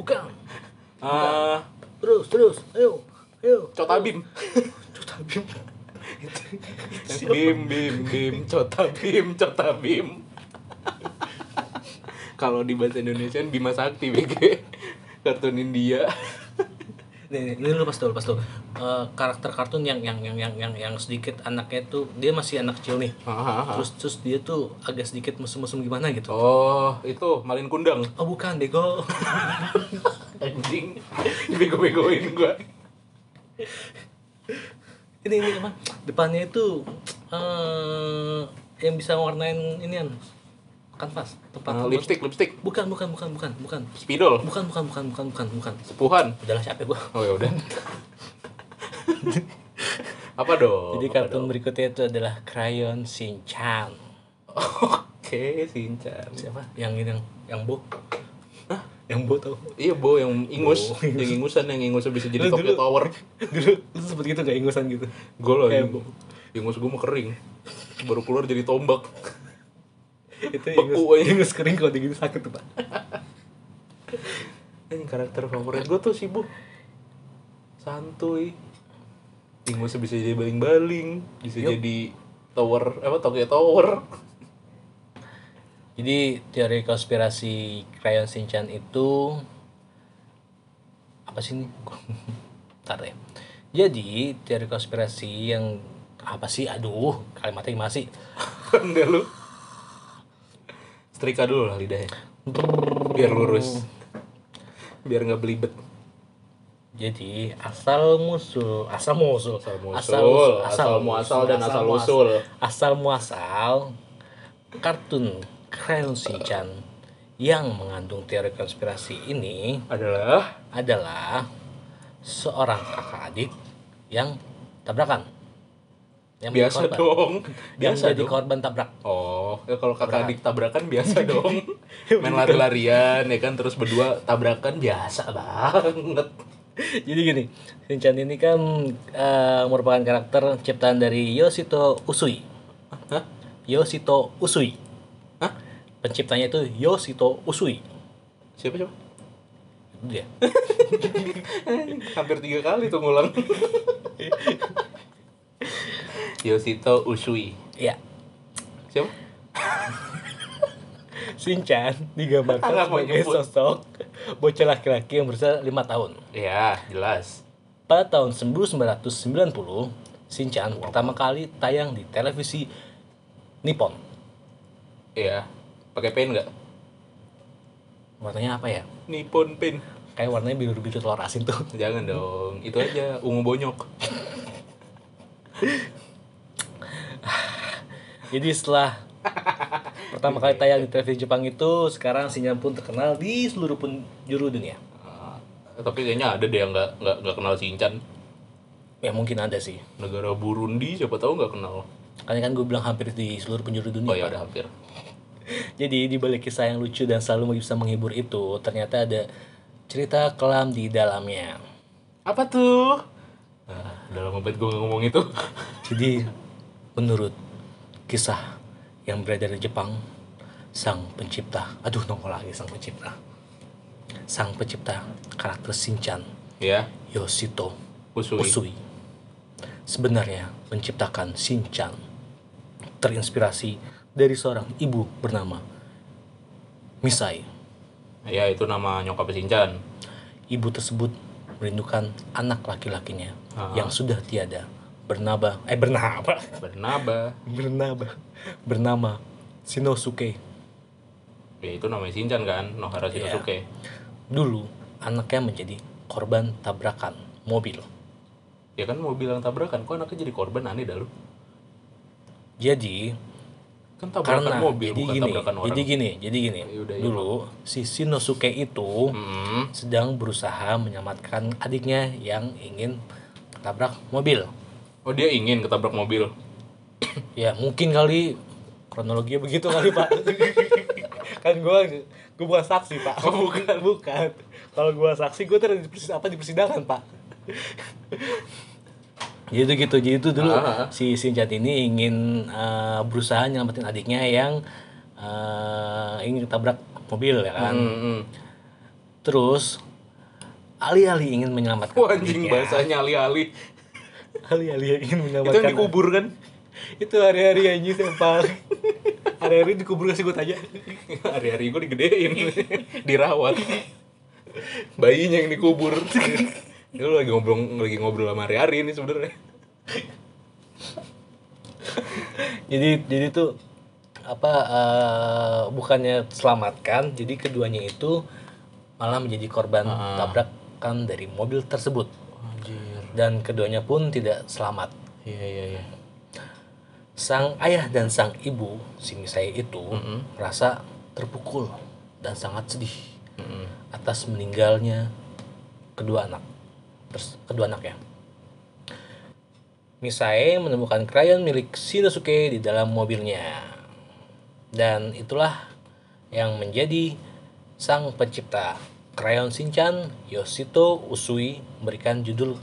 B: Bukan.
A: Ah,
B: Terus, terus. Ayo. Ayo.
A: Cotabim.
B: Cotabim.
A: Bim bim bim cota bim cota bim. Kalau di bahasa Indonesia Bima Sakti BG. Kartun India.
B: Nih, nih, ini lu pas dulu, pas dulu. Eh, karakter kartun yang yang yang yang yang yang sedikit anaknya tuh dia masih anak kecil nih.
A: Hahaha.
B: Terus terus dia tuh agak sedikit mesum-mesum gimana gitu.
A: oh, itu Malin Kundang.
B: Oh, bukan, bego.
A: Anjing. Bego-begoin gua.
B: ini ini apa depannya itu eh yang bisa warnain inian kanvas tempat
A: Ah,
B: tempat-
A: lipstick, lipstick.
B: bukan bukan bukan bukan bukan
A: Spidol.
B: bukan bukan bukan bukan bukan bukan
A: Sepuhan.
B: udahlah capek gua
A: Oh ya udah. Apa dong?
B: jadi
A: Apa
B: kartun
A: dong?
B: berikutnya itu adalah Crayon Shinchan
A: Oke, Sinchan.
B: siapa yang ini yang yang bo Hah? yang bo tau
A: Iya, Bo yang ingus,
B: Bo.
A: yang ingusan yang ingus bisa jadi
B: Lu
A: Tokyo
B: dulu-
A: Tower.
B: dulu lu sempet gitu gak ingusan gitu
A: Gue loh,
B: Eh,
A: yang
B: Bu.
A: ingus gue mau kering Baru keluar jadi tombak
B: itu ingus
A: Beku, eh.
B: ingus kering kalau digigit sakit tuh pak
A: Ini karakter favorit gue tuh sibuk Santuy Ingus bisa jadi baling-baling Bisa
B: Yup.
A: jadi tower, apa Tokyo Tower
B: Jadi teori konspirasi Crayon Shinchan itu apa sih ini? Bentar ya. Jadi teori konspirasi yang apa sih? Aduh, kalimatnya masih.
A: Kan Enggak lu Setrika dulu lah lidahnya Biar lurus Biar nggak belibet
B: Jadi asal musul, asal musul,
A: Asal musul,
B: musul,
A: asal muasal dan asal
B: muas-
A: usul.
B: Asal muasal kartun Crayon Shinchan yang mengandung teori konspirasi ini
A: Adalah
B: adalah seorang kakak adik yang tabrakan. Yang menjadi
A: Biasa
B: korban.
A: dong
B: Yang
A: Biasa
B: jadi
A: dong
B: korban tabrak.
A: Oh, ya kalau kakak adik tabrakan biasa dong. Main lari-larian ya kan terus berdua tabrakan biasa banget.
B: jadi gini, Shinchan ini kan eh, merupakan karakter ciptaan dari Yoshito Usui.
A: Hah?
B: Yoshito Usui.
A: Hah?
B: Penciptanya itu Yoshito Usui.
A: Siapa siapa?
B: Itu dia.
A: Hampir tiga kali tuh ngulang. Yoshito Usui.
B: Iya.
A: Siapa?
B: Shinchan digambarkan
A: Alah, mau
B: sebagai
A: nyebut.
B: sosok bocah laki-laki yang berusia 5 tahun.
A: Ya, jelas.
B: Pada tahun 1990, Shinchan pertama kali tayang di televisi Nippon.
A: Iya. Pakai pen nggak?
B: Warnanya apa ya?
A: Nippon pen.
B: Kayak warnanya biru-biru telur asin tuh.
A: Jangan dong. Itu aja ungu bonyok.
B: Jadi setelah pertama kali tayang di televisi Jepang itu, sekarang Shinchan pun terkenal di seluruh penjuru dunia.
A: Ah, tapi kayaknya ada deh yang nggak nggak nggak kenal Shinchan.
B: Ya mungkin ada sih.
A: Negara Burundi siapa tahu nggak kenal.
B: Karena kan gue bilang hampir di seluruh penjuru dunia.
A: Oh ya udah hampir.
B: Jadi di balik kisah yang lucu dan selalu bisa menghibur itu, ternyata ada cerita kelam di dalamnya.
A: Apa tuh? Nah, udah lama banget gue ngomong itu.
B: Jadi menurut kisah yang beredar di Jepang, sang pencipta, aduh nongol lagi sang pencipta, sang pencipta karakter Shinchan
A: ya,
B: Yoshito
A: Usui.
B: Usui sebenarnya menciptakan Shinchan terinspirasi dari seorang ibu bernama Misai.
A: Ya itu nama nyokap Sinchan.
B: Ibu tersebut merindukan anak laki-lakinya
A: Ah.
B: yang sudah tiada bernama eh bernama
A: Bernaba.
B: bernama bernama Shinosuke.
A: Ya itu namanya Sinchan kan, Nohara
B: Iya.
A: Shinosuke.
B: Dulu anaknya menjadi korban tabrakan mobil.
A: Ya kan mau bilang tabrakan, kok anaknya jadi korban aneh dah lu.
B: Jadi
A: Kan tabrakan
B: karena
A: mobil
B: jadi
A: bukan
B: gini,
A: tabrakan orang.
B: jadi gini, jadi gini.
A: Ya udah, Hmm. ya,
B: Dulu si Shinosuke itu
A: Mm-mm.
B: sedang berusaha menyelamatkan adiknya yang ingin tabrak mobil.
A: Oh dia ingin ketabrak mobil.
B: Ya mungkin kali kronologinya begitu kali pak. kan gua gua bukan saksi pak.
A: Oh,
B: bukan bukan. Kalau gua saksi gua tuh ada di persi- apa di persidangan pak. Jadi gitu, jadi itu dulu
A: Ah.
B: si Sinjat ini ingin eh, berusaha nyelamatin adiknya yang eh, ingin ketabrak mobil ya kan.
A: Mm-mm.
B: Terus alih-alih ingin menyelamatkan
A: Wah, anjing
B: adiknya,
A: bahasanya alih-alih.
B: alih-alih ingin
A: Itu yang
B: menyelamatkan
A: dikubur kan?
B: itu hari-hari anjing sampah hari-hari dikubur kasih gue tanya
A: Hari-hari gue digedein, dirawat. Bayinya yang dikubur. Ini lu lagi ngobrol lagi ngobrol sama hari-hari ini sebenarnya.
B: jadi jadi tuh apa eh, bukannya selamatkan jadi keduanya itu malah menjadi korban tabrakan dari mobil tersebut
A: Anjir.
B: dan keduanya pun tidak selamat
A: Iya iya iya.
B: sang ayah dan sang ibu si Misai itu merasa terpukul dan sangat sedih
A: Mm-mm.
B: atas meninggalnya kedua anak terus kedua ya. anaknya Misae menemukan krayon milik Shinosuke di dalam mobilnya dan itulah yang menjadi sang pencipta krayon Shinchan Yoshito Usui memberikan judul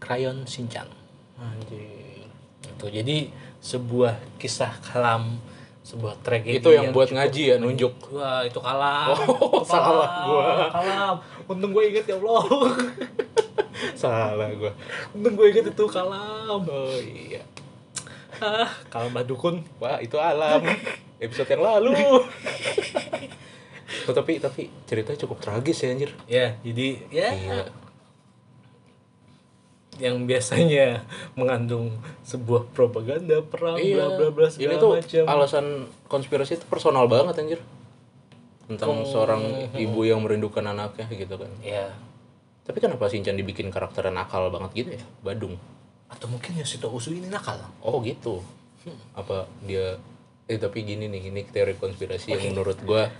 B: krayon Shinchan
A: Anjir.
B: itu jadi sebuah kisah kelam sebuah tragedi
A: Itu yang buat ngaji ya nunjuk.
B: Wah, itu kalah.
A: Oh, salah gua.
B: Kalah. Untung gue inget ya Allah.
A: Salah gua.
B: Untung gue inget itu kalam.
A: Oh iya.
B: Ah, kalam Mbah dukun.
A: Wah, itu alam. Episode yang lalu. Oh, tapi tapi ceritanya cukup tragis ya anjir.
B: Ya, jadi ya
A: Iya.
B: yang biasanya mengandung sebuah propaganda perang
A: Iya.
B: bla bla bla
A: Ini
B: segala
A: tuh
B: macam.
A: alasan konspirasi itu personal banget anjir. Tentang seorang ibu yang merindukan anaknya gitu kan.
B: Ya,
A: Tapi kenapa Shinchan dibikin karakter nakal banget gitu ya? Badung.
B: atau mungkin Yoshito Usui ini nakal.
A: Oh gitu.
B: Hmm.
A: Apa dia eh tapi gini nih, ini teori konspirasi yang menurut gua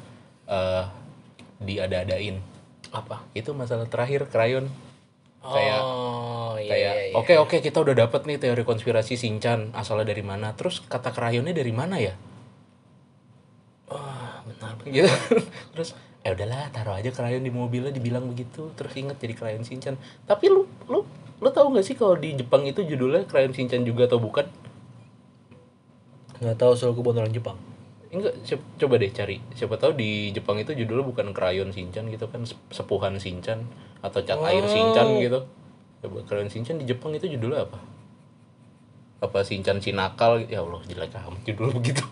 A: eh diada-adain.
B: Apa?
A: Itu masalah terakhir krayon. Kayak
B: oh, iya,
A: kayak
B: iya, iya.
A: oke oke kita udah dapat nih teori konspirasi Shinchan asalnya dari mana terus kata krayonnya dari mana ya
B: Wah, iya. benar.
A: gitu terus eh udahlah taruh aja krayon di mobilnya dibilang begitu terus inget jadi krayon Shinchan tapi lu lu lu tahu nggak sih kalau di Jepang itu judulnya krayon Shinchan juga atau bukan
B: Enggak tahu soal kebenaran Jepang.
A: enggak siap- coba deh cari siapa tahu di Jepang itu judulnya bukan krayon Shinchan gitu kan sep- sepuhan Shinchan atau cat air Shinchan gitu coba krayon Shinchan di Jepang itu judulnya apa apa Shinchan Sinakal ya Allah jelek amat judul begitu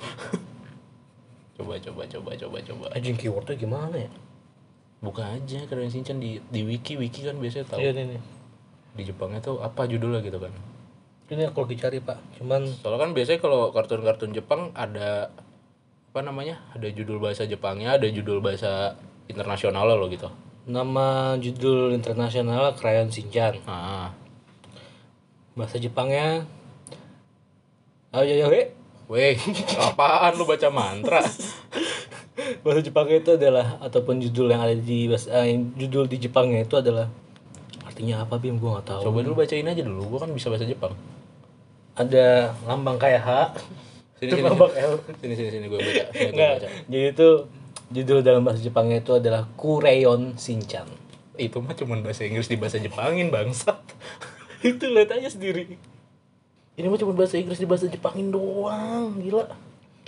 A: coba coba coba coba coba
B: Anjing keywordnya gimana ya?
A: buka aja krayon Shinchan di di wiki wiki kan biasanya tahu
B: Iya nih nih.
A: di Jepangnya tuh apa judulnya gitu kan
B: Ini aku lagi cari pak. Cuman
A: Soalnya kan biasanya kalau kartun-kartun Jepang ada apa namanya? Ada judul bahasa Jepangnya, ada judul bahasa internasionalnya loh gitu.
B: nama judul internasional Krayon Shinchan.
A: Ah.
B: Bahasa Jepangnya Ayo yo he.
A: Weh, apaan lu baca mantra?
B: Bahasa Jepangnya itu adalah ataupun judul yang ada di bahasa, eh, judul di Jepangnya itu adalah artinya apa Bim gua nggak tahu.
A: Coba dulu bacain aja dulu, gua kan bisa bahasa Jepang.
B: ada lambang kayak H,
A: Sini,
B: terus
A: sini,
B: lambang L.
A: Sini sini sini gue baca. Sini gue
B: Nggak,
A: baca.
B: jadi itu judul dalam bahasa Jepangnya itu adalah Kureon Shinchan.
A: Itu mah cuman bahasa Inggris di bahasa Jepangin bangsat.
B: itu lihat aja sendiri.
A: Ini mah cuma bahasa Inggris di bahasa Jepangin doang, gila.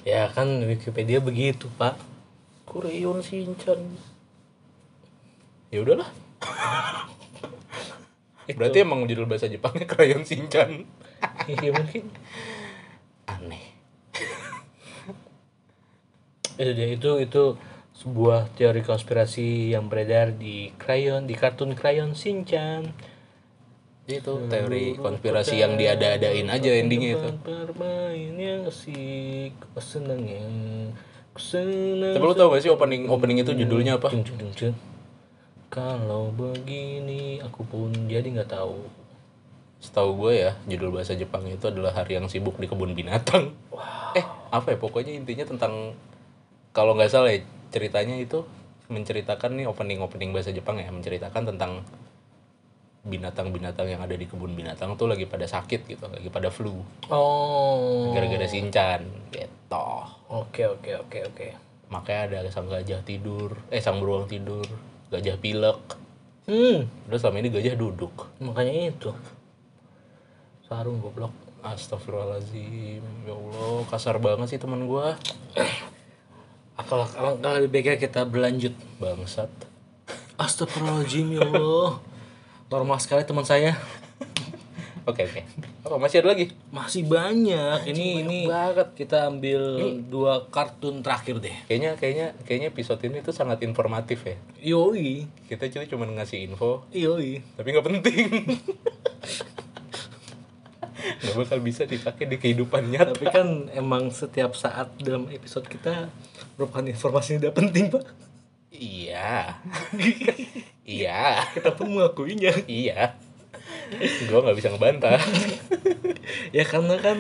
B: Ya kan Wikipedia begitu pak.
A: Koreon Shinchan. Ya udahlah. Berarti emang judul bahasa Jepangnya Krayon Shinchan.
B: Iya mungkin.
A: Aneh.
B: Itu dia itu itu sebuah teori konspirasi yang beredar di krayon di kartun krayon Shinchan.
A: Itu teori Hmm. konspirasi yang diada-adain aja endingnya itu.
B: Bermain yang asik, senengnya. Seneng.
A: Tapi lu tau gak sih opening opening itu judulnya apa?
B: Cung, cung, cung, cung. Kalau begini aku pun jadi nggak tahu.
A: Setahu gue ya, judul bahasa Jepangnya itu adalah hari yang sibuk di kebun binatang. Eh, apa ya? Pokoknya intinya tentang kalau nggak salah ya, ceritanya itu menceritakan nih opening-opening bahasa Jepang ya, menceritakan tentang binatang-binatang yang ada di kebun binatang tuh lagi pada sakit gitu, lagi pada flu
B: Oh.
A: gara-gara sinchan gitu.
B: Oke oke oke oke.
A: Makanya ada sang gajah tidur, eh sang beruang tidur, gajah pilek.
B: Hmm.
A: Udah selama ini gajah duduk.
B: Makanya itu. Sarung goblok.
A: Astagfirullahaladzim, ya Allah kasar banget sih teman gua
B: Apalah alangkah lebih baiknya kita berlanjut.
A: bangsat.
B: Astagfirullahaladzim ya Allah. Normal sekali teman saya.
A: Oke oke. Apa masih ada lagi?
B: Masih banyak. Ini ini
A: banget.
B: kita ambil dua kartun terakhir deh.
A: Kayaknya kayaknya kayaknya episode ini tuh sangat informatif ya.
B: Yoi.
A: Kita cuma cuma ngasih info,
B: Yoi.
A: tapi nggak penting. gak bakal bisa dipakai di kehidupan nyata.
B: Tapi kan emang setiap saat dalam episode kita merupakan informasi yang tidak penting, Pak.
A: Iya. iya.
B: Kita pun mengakuinya.
A: Iya. Gua nggak bisa ngebantah.
B: Ya karena kan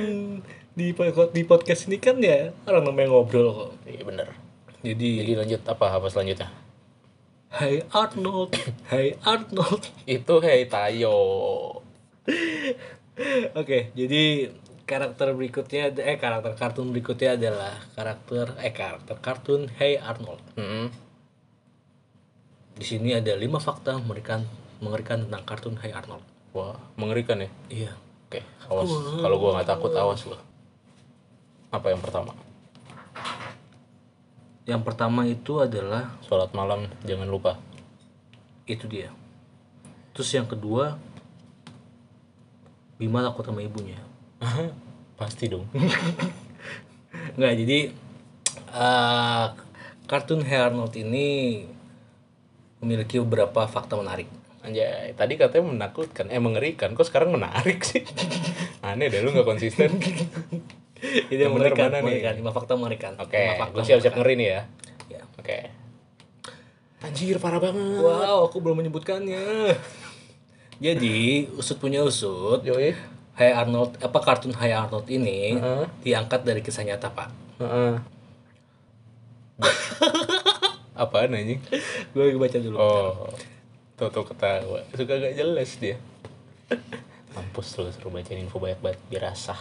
B: di pod- di podcast ini kan ya orang namanya ngobrol kok.
A: Iya bener.
B: Jadi,
A: Jadi lanjut apa apa selanjutnya?
B: Hai Arnold, Hai Arnold.
A: Itu Hei Tayo.
B: Oke, jadi karakter berikutnya eh karakter kartun berikutnya adalah karakter eh karakter kartun Hey Arnold.
A: Mm-mm.
B: Di sini ada lima fakta mengerikan mengerikan tentang kartun Hey Arnold.
A: Wah, mengerikan ya.
B: Iya.
A: Oke, awas. Kalau gua nggak takut, awas lo. Apa yang pertama?
B: Yang pertama itu adalah
A: Sholat malam jangan lupa.
B: itu dia. Terus yang kedua Bima takut sama ibunya.
A: Pasti dong.
B: Nggak, jadi eh, kartun Hey Arnold ini memiliki beberapa fakta menarik.
A: Anjay, tadi katanya menakutkan, eh mengerikan. Kok sekarang menarik sih? Aneh deh, lu nggak konsisten. Yang
B: Itu yang kan? Iya.
A: bener
B: mengerikan,
A: mana nih?
B: mengerikan. Lima fakta mengerikan.
A: Oke,
B: Lima fakta
A: gua siap-siap
B: mengerikan.
A: ngeri nih ya.
B: Ya.
A: Oke. Anjir, parah banget.
B: Wow, aku belum menyebutkannya. Jadi, usut punya usut.
A: Joy.
B: Hai Arnold, apa kartun Hai Arnold ini
A: Heeh.
B: diangkat dari kisah nyata, Pak.
A: Heeh. Apaan anjing?
B: Gue lagi baca dulu.
A: Oh. Toto ketawa. Suka gak jelas dia. Mampus lu suruh bacain info banyak banget biar asah.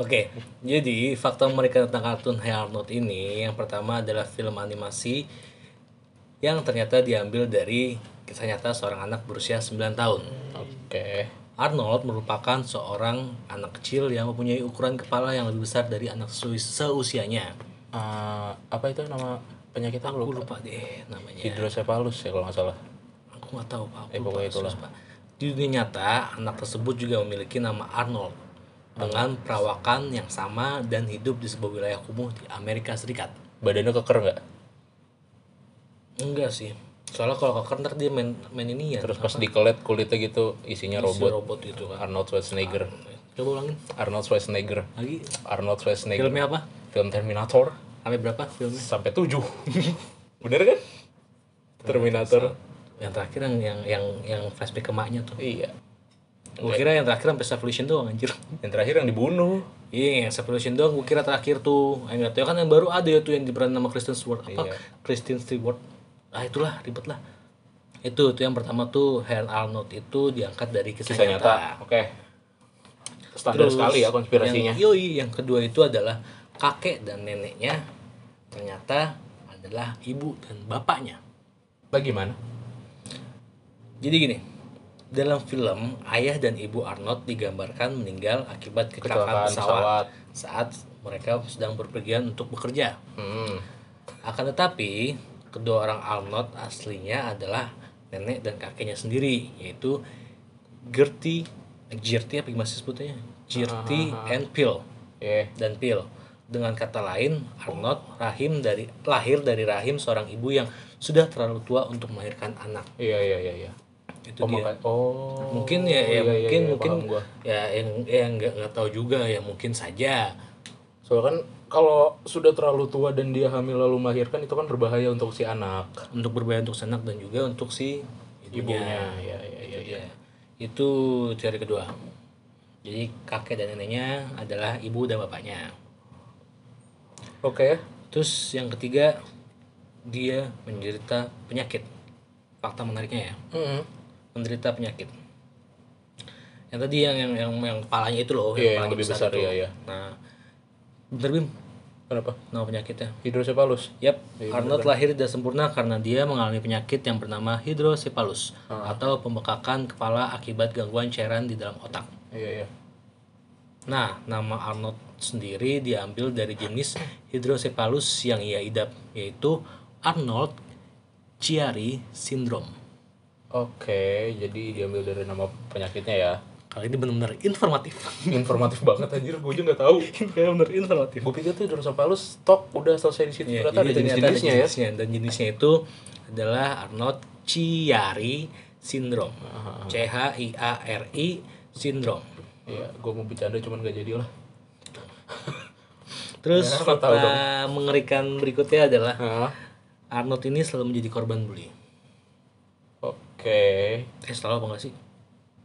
B: Oke, jadi fakta mereka tentang kartun Hey Arnold ini yang pertama adalah film animasi yang ternyata diambil dari kisah nyata seorang anak berusia 9 tahun.
A: Oke.
B: Arnold merupakan seorang anak kecil yang mempunyai ukuran kepala yang lebih besar dari anak seu- seusianya.
A: Eh, apa itu nama penyakitnya aku
B: Aku
A: lupa.
B: lupa deh namanya.
A: Hidrosepalus ya kalau nggak salah.
B: Aku nggak tahu pak. Aku
A: Eh,
B: lupa
A: pokoknya
B: serius, Pak. Di dunia nyata, anak tersebut juga memiliki nama Arnold dengan perawakan yang sama dan hidup di sebuah wilayah kumuh di Amerika Serikat.
A: Badannya keker nggak?
B: Enggak sih. Soalnya kalau keker ntar dia main, main ini ya.
A: Terus pas dikelet kulitnya gitu isinya
B: robot.
A: robot.
B: robot gitu kan.
A: Arnold Schwarzenegger.
B: Coba ulangin
A: Arnold Schwarzenegger.
B: lagi.
A: Arnold Schwarzenegger.
B: Filmnya apa?
A: Film Terminator
B: Sampai berapa filmnya?
A: sampai 7. Bener kan? Terminator.
B: Yang terakhir yang yang yang, yang flashback ke maknya tuh.
A: Iya.
B: Gue kira yang terakhir sampai Revolution doang anjir.
A: Yang terakhir yang dibunuh.
B: Iya, yang Revolution doang gue kira terakhir tuh. Yang nggak tahu kan yang baru ada ya tuh yang diperan nama Kristen Stewart apa?
A: Iya.
B: Kristen Stewart. Ah itulah ribet lah. Itu tuh yang pertama tuh Helen Arnold itu diangkat dari kisah,
A: Kisah
B: nyata.
A: nyata. Oke. Standar
B: Terus,
A: sekali ya konspirasinya.
B: Yang, yoi, yang kedua itu adalah kakek dan neneknya ternyata adalah ibu dan bapaknya.
A: Bagaimana?
B: Jadi gini, dalam film ayah dan ibu Arnold digambarkan meninggal akibat
A: Kecelakaan
B: kecelakaan pesawat
A: pesawat.
B: saat mereka sedang berpergian untuk bekerja.
A: Hmm.
B: Akan tetapi, kedua orang Arnold aslinya adalah nenek dan kakeknya sendiri, yaitu Gertie, eh, Gertie apa gimana sih sebutnya? Gertie
A: Ah,
B: and Phil
A: Ya.
B: dan Pil. Dengan kata lain, Arnold rahim dari lahir dari rahim seorang ibu yang sudah terlalu tua untuk melahirkan anak.
A: Iya iya iya iya.
B: Itu
A: Oh,
B: dia.
A: maka- oh.
B: Mungkin ya, ya
A: Iya, iya,
B: mungkin
A: iya,
B: mungkin
A: paham gua.
B: ya yang yang nggak nggak tahu juga ya mungkin saja.
A: Soalnya kan kalau sudah terlalu tua dan dia hamil lalu melahirkan itu kan berbahaya untuk si anak.
B: untuk berbahaya untuk si anak dan juga untuk si
A: Ibunya,
B: ibunya.
A: ya, ya,
B: Itu
A: ya,
B: dia. Itu teori kedua. Jadi kakek dan neneknya adalah ibu dan bapaknya. ya?
A: Oke.
B: Terus yang ketiga dia menderita penyakit. Fakta menariknya ya,
A: Mm-mm.
B: menderita penyakit. Yang tadi yang yang yang, yang kepalanya itu loh,
A: Iya, yang
B: kepalanya
A: lebih besar,
B: itu.
A: iya, iya.
B: Nah, bener Bim,
A: Kenapa?
B: nama penyakitnya.
A: Hidrosepalus.
B: Yap, Arnold lahir tidak sempurna karena dia mengalami penyakit yang bernama hidrosepalus atau pembekakan kepala akibat gangguan cairan di dalam otak.
A: Iya iya.
B: Nah, nama Arnold sendiri diambil dari jenis hidrosepalus yang ia idap, yaitu Arnold Chiari Syndrome.
A: Oke, jadi diambil dari nama penyakitnya ya.
B: Kali ini benar-benar informatif.
A: Informatif banget anjir, gue juga nggak tahu.
B: benar-benar informatif.
A: Gue pikir tuh hidrosepalus stok udah selesai di situ.
B: Iya,
A: ternyata ada
B: jadi ternyata ada
A: jenis-jenisnya ya.
B: jenisnya, Dan jenisnya itu adalah Arnold Chiari Syndrome. C H I A R I Syndrome.
A: Iya, gue mau bercanda cuman gak jadi lah.
B: Terus
A: Ya, aku tahu
B: fakta mengerikan berikutnya adalah
A: Hah?
B: Arnold ini selalu menjadi korban bully.
A: Oke.
B: Eh selalu apa enggak sih?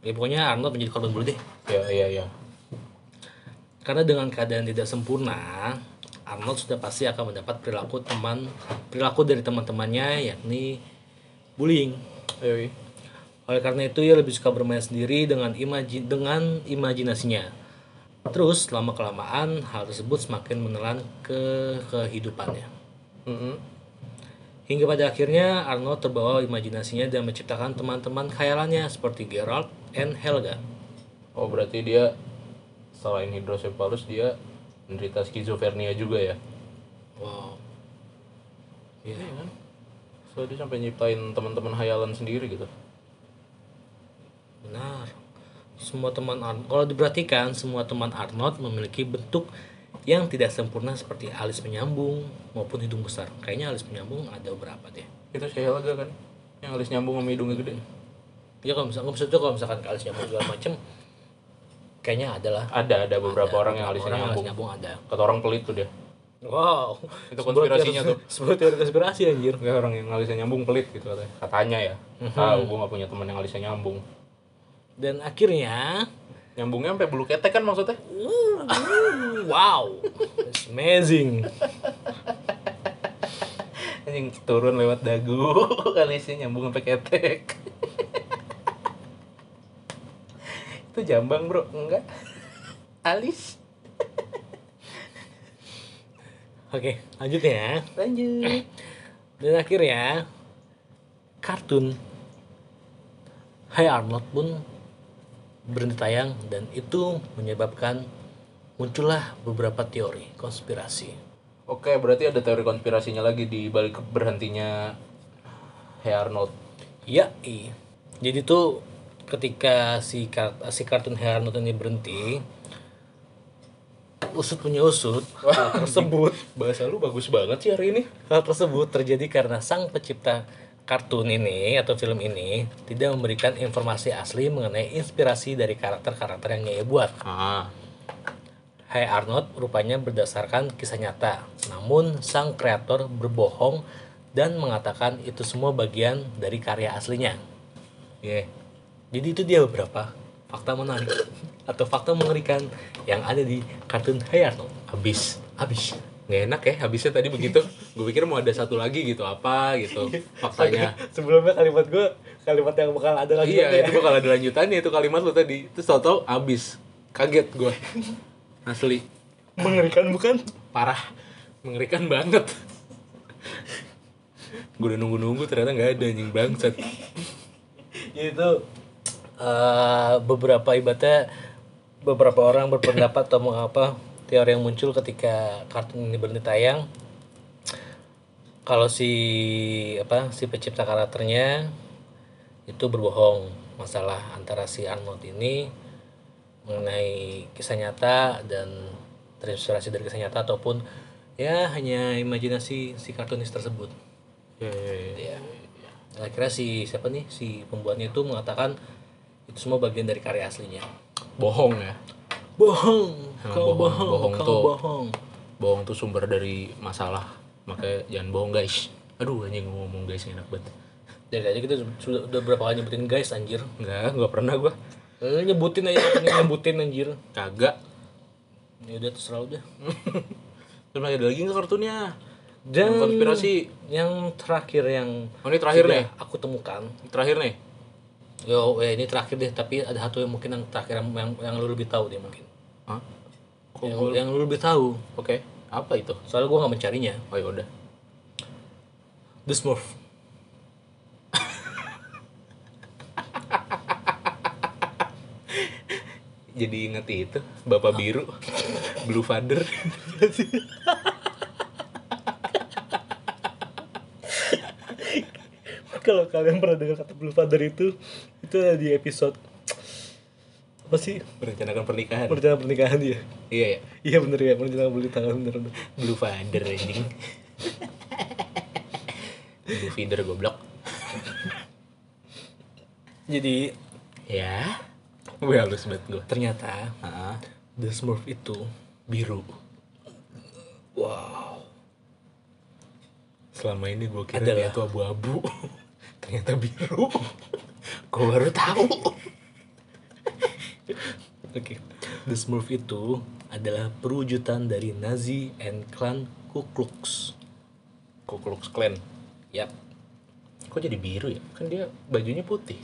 B: Ya pokoknya Arnold menjadi korban bully deh.
A: Ya ya ya.
B: Karena dengan keadaan tidak sempurna, Arnold sudah pasti akan mendapat perilaku teman perilaku dari teman-temannya yakni bullying. iya.
A: Ayo. Wi.
B: Oleh karena itu ia lebih suka bermain sendiri dengan imaji dengan imajinasinya. Terus lama kelamaan hal tersebut semakin menelan ke kehidupannya.
A: Mm-mm.
B: Hingga pada akhirnya Arnold terbawa imajinasinya dan menciptakan teman-teman khayalannya seperti Geralt and Helga.
A: Oh berarti dia selain hidrosepalus dia menderita skizofrenia juga ya?
B: Wow.
A: Iya kan?
B: iya.
A: So dia sampai nyiptain teman-teman hayalan sendiri gitu.
B: Benar. Semua teman Arnold, kalau diperhatikan semua teman Arnold memiliki bentuk yang tidak sempurna seperti alis penyambung maupun hidung besar. Kayaknya alis penyambung ada berapa deh?
A: Itu si Helga kan? Yang alis nyambung sama hidungnya gede.
B: Ya kalau misalkan maksudnya kalau misalkan alis nyambung segala macem kayaknya ada lah.
A: Ada ada beberapa
B: Ada,
A: orang yang alisnya Oh,
B: orang
A: nyambung.
B: Alis nyambung ada.
A: Kata orang pelit tuh dia.
B: Wow.
A: Itu konspirasinya tuh.
B: Sebuah teori konspirasi anjir.
A: Enggak orang yang alisnya nyambung pelit gitu katanya. Katanya ya. Tahu gua nggak punya teman yang alisnya nyambung.
B: Dan akhirnya
A: Nyambungnya sampai bulu ketek kan maksudnya?
B: wow, it's amazing.
A: Anjing turun lewat dagu, alisnya nyambung sampai ketek. Itu jambang, Bro. Enggak. Alis.
B: Oke, lanjut ya.
A: Lanjut.
B: Dan akhirnya kartun Hai Arnold pun berhenti tayang dan itu menyebabkan muncullah beberapa teori konspirasi.
A: Oke, berarti ada teori konspirasinya lagi di balik berhentinya Hey Arnold.
B: Ya, i. Jadi tuh ketika si, kar- si kartun Hai Arnold ini berhenti, usut punya usut hal tersebut
A: Bahasa lu bagus banget sih hari ini.
B: Hal tersebut terjadi karena sang pencipta kartun ini atau film ini tidak memberikan informasi asli mengenai inspirasi dari karakter-karakter yang ia buat.
A: Ah,
B: Hai Arnold rupanya berdasarkan kisah nyata, namun sang kreator berbohong dan mengatakan itu semua bagian dari karya aslinya.
A: iya.
B: Jadi itu dia beberapa fakta menarik atau fakta mengerikan yang ada di kartun Hai Arnold.
A: Habis.
B: Habis.
A: Nggak enak ya, habisnya tadi begitu. Gue pikir mau ada satu lagi gitu, apa gitu. Faktanya.
B: Sebelumnya kalimat gue kalimat yang bakal ada lagi. ya.
A: Iya, itu bakal ada lanjutannya itu kalimat lu tadi. Terus tau-tau habis. kaget gue asli
D: Mengerikan bukan?
A: parah mengerikan banget gue udah nunggu-nunggu ternyata nggak ada anjing bangsat
D: Itu
B: eh beberapa ibaratnya beberapa orang berpendapat atau mengapa teori yang muncul ketika kartun ini berhenti tayang kalau si apa si pencipta karakternya itu berbohong masalah antara si Arnold ini mengenai kisah nyata dan terinspirasi dari kisah nyata ataupun ya hanya imajinasi si kartunis tersebut
A: ya, ya, ya.
B: ya akhirnya si siapa nih si pembuatnya itu mengatakan itu semua bagian dari karya aslinya
A: bohong ya
B: bohong
A: Emang
B: kau
A: bohong,
B: bohong,
A: bohong
B: kau
A: tuh.
B: bohong
A: bohong tuh sumber dari masalah makanya jangan bohong guys aduh anjing gua ngomong guys enak banget
B: dari aja kita sudah, udah berapa kali nyebutin guys anjir
A: nggak nggak pernah gue
B: Eh, nyebutin aja pengen nyebutin anjir
A: kagak
B: ya udah terserah udah
A: terus ada lagi nggak kartunya
B: dan
A: Yang konspirasi.
B: yang terakhir yang
A: oh ini terakhir
B: sudah
A: nih
B: aku temukan
A: terakhir nih
B: yo ya ini terakhir deh tapi ada satu yang mungkin yang terakhir yang yang, yang lu lebih tahu deh mungkin
A: Hah?
B: yang, yang lu lebih tahu
A: oke apa itu
B: soalnya gua nggak mencarinya
A: oh ya udah
B: The Smurf
A: jadi inget itu bapak biru blue father
D: Kalau kalian pernah dengar kata Blue Father itu Itu ada di episode Apa sih?
A: merencanakan pernikahan
D: Perencana pernikahan dia
A: iya ya
D: Iya bener ya, perencana beli tangan bener bener
A: blue father anjing blue feeder goblok
B: Jadi
A: ya gue halus banget gue
B: ternyata
A: Heeh.
B: The Smurf itu
A: biru
B: wow
A: selama ini gue kira dia
B: Adalah.
A: tuh abu-abu ternyata biru gue baru tahu
B: Oke. The Smurf itu adalah perwujudan dari Nazi and Klan Ku Klux.
A: Ku Klux Klan
B: Yap.
A: kok jadi biru ya kan dia bajunya putih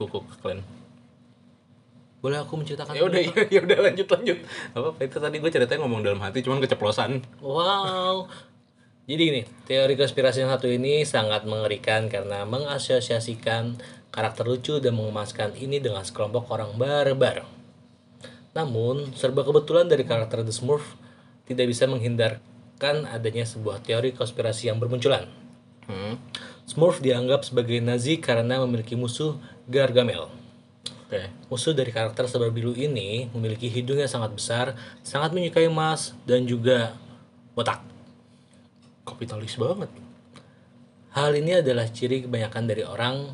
A: Ku Klux Klan
B: Boleh aku menceritakan?
A: ya udah ya udah lanjut lanjut apa apa itu tadi gue ceritanya ngomong dalam hati cuman keceplosan
B: Wow. Jadi gini, teori konspirasi yang satu ini sangat mengerikan karena mengasosiasikan karakter lucu dan mengemaskan ini dengan sekelompok orang barbar. Namun, serba kebetulan dari karakter The Smurf tidak bisa menghindarkan adanya sebuah teori konspirasi yang bermunculan.
A: hmm.
B: Smurf dianggap sebagai Nazi karena memiliki musuh Gargamel.
A: oke
B: Musuh dari karakter sebar biru ini memiliki hidung yang sangat besar, sangat menyukai emas, dan juga botak.
A: kapitalis banget
B: Hal ini adalah ciri kebanyakan dari orang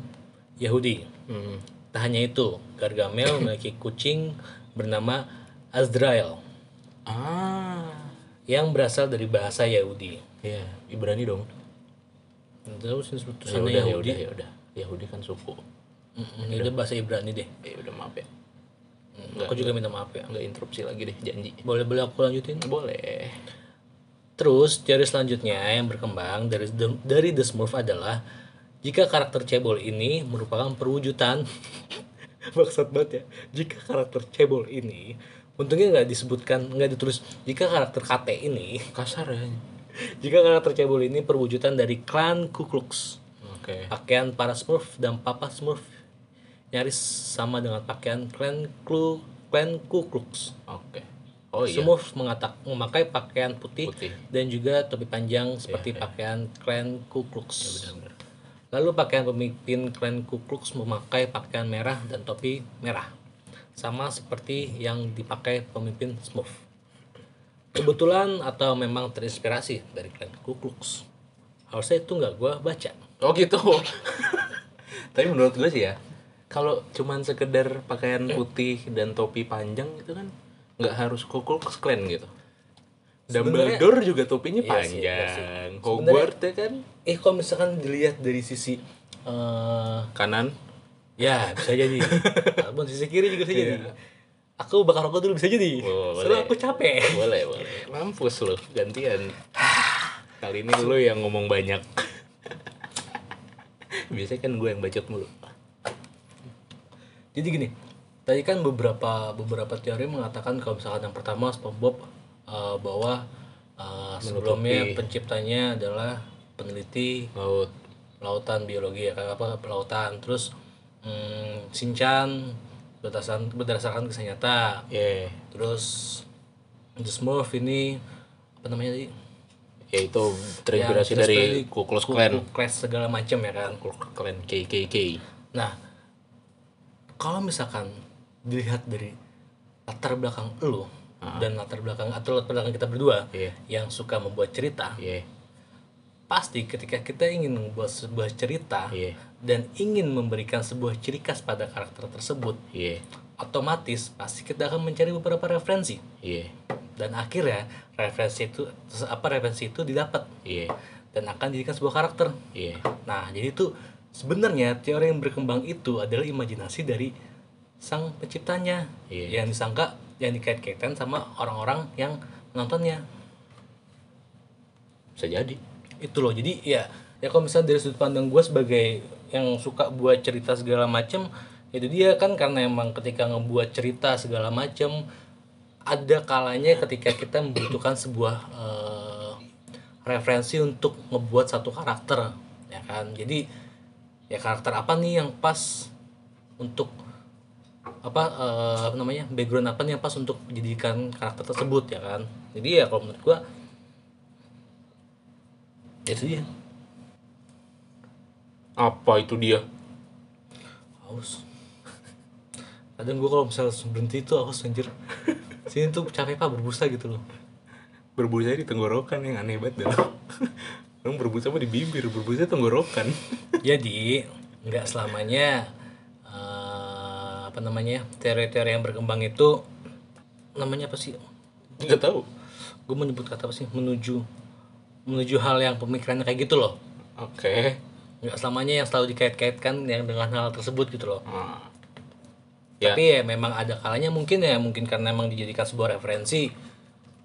B: Yahudi.
A: hmm.
B: Tak hanya itu, Gargamel memiliki kucing bernama Azrael
A: ah
B: yang berasal dari bahasa Yahudi.
A: ya Ibrani dong
B: Terus
A: ya
B: tulisannya
A: udah ya
B: Yahudi.
A: udah ya udah Yahudi kan suku
B: Mm, Ini udah bahasa Ibrani deh. Mm,
A: ya udah maaf ya
B: Aku juga minta maaf ya.
A: nggak interupsi lagi deh janji
B: Boleh-boleh aku lanjutin?
A: boleh
B: Terus teori selanjutnya yang berkembang dari The- dari The Smurf adalah jika karakter cebol ini merupakan perwujudan maksud banget ya. Jika karakter cebol ini untungnya nggak disebutkan nggak ditulis jika karakter KT ini
A: kasar ya
B: jika karakter cebol ini perwujudan dari klan Ku Klux
A: oke
B: pakaian para Smurf dan Papa Smurf nyaris sama dengan pakaian klan Ku klan Ku Klux.
A: oke oh iya
B: Smurf mengatak memakai pakaian putih,
A: Putih.
B: dan juga topi panjang seperti pakaian klan Ku Klux.
A: benar.
B: Lalu pakaian pemimpin klan Ku Klux memakai pakaian merah dan topi merah. Sama seperti yang dipakai pemimpin Smurf. Kebetulan atau memang terinspirasi dari klan Ku Klux. Harusnya itu nggak gua baca.
A: Oh gitu. Tapi menurut gue sih ya, kalau cuman sekedar pakaian putih dan topi panjang itu kan nggak harus kokul Klan gitu.
B: Sebenarnya-
A: Dumbledore juga topinya
B: Iya sih, iya sih.
A: panjang. Hogwarts ya kan
B: Eh kalau misalkan dilihat dari sisi eh,
A: kanan.
B: Ya bisa jadi. Ataupun sisi kiri juga bisa jadi. Aku bakar rokok dulu bisa jadi.
A: Oh,
B: Soalnya
A: boleh.
B: aku capek.
A: Boleh, boleh. Mampus lu, gantian. Kali ini lu yang ngomong banyak. Biasanya kan gue yang bacot mulu.
B: Jadi gini, Tadi kan beberapa beberapa teori mengatakan kalau misalkan yang pertama SpongeBob eh, bahwa eh, sebelumnya penciptanya adalah peneliti
A: laut
B: lautan biologi ya kan apa pelautan terus hmm, Shinchan berdasarkan berdasarkan kisah nyata
A: ya
B: terus The Smurf ini apa namanya tadi
A: ya itu Ya, terinspirasi
B: Yang
A: dari
B: terinspirasi
A: Ku Klux Klan
B: Ku Klux segala macam ya kan
A: Ku Klux Klan KKK
B: Nah, kalau misalkan dilihat dari latar belakang lo dan latar belakang atau latar belakang kita berdua
A: Iya.
B: yang suka membuat cerita,
A: ya
B: pasti ketika kita ingin membuat sebuah cerita
A: Iya.
B: dan ingin memberikan sebuah ciri khas pada karakter tersebut,
A: ya
B: otomatis pasti kita akan mencari beberapa referensi
A: ya
B: dan akhirnya referensi itu apa referensi itu didapat
A: ya
B: dan akan dijadikan sebuah karakter.
A: ya
B: Nah, jadi itu sebenarnya teori yang berkembang itu adalah imajinasi dari sang penciptanya
A: Iya.
B: yang disangka yang dikait-kaitkan sama orang-orang yang menontonnya.
A: bisa jadi
B: Itu loh. Jadi ya ya kalau misalnya dari sudut pandang gue sebagai yang suka buat cerita segala macem itu dia kan karena emang ketika ngebuat cerita segala macem ada kalanya ketika kita membutuhkan sebuah eh, referensi untuk ngebuat satu karakter ya kan jadi ya karakter apa nih yang pas untuk apa eh, apa namanya background apa nih yang pas untuk dijadikan karakter tersebut ya kan jadi ya kalau menurut gua ya itu dia
A: apa itu dia
B: haus kadang gua kalau misalnya berhenti itu haus anjir sini tuh capek pak berbusa gitu loh
A: berbusa di tenggorokan yang aneh banget dah orang berbusa apa di bibir berbusa tenggorokan
B: jadi Iya, nggak selamanya eh, apa namanya teori-teori yang berkembang itu namanya apa sih
A: nggak tahu
B: gue menyebut kata apa sih menuju menuju hal yang pemikirannya kayak gitu loh
A: oke
B: nggak selamanya yang selalu dikait-kaitkan yang dengan hal tersebut gitu loh
A: Ah. Ya.
B: tapi ya memang ada kalanya mungkin ya mungkin karena memang dijadikan sebuah referensi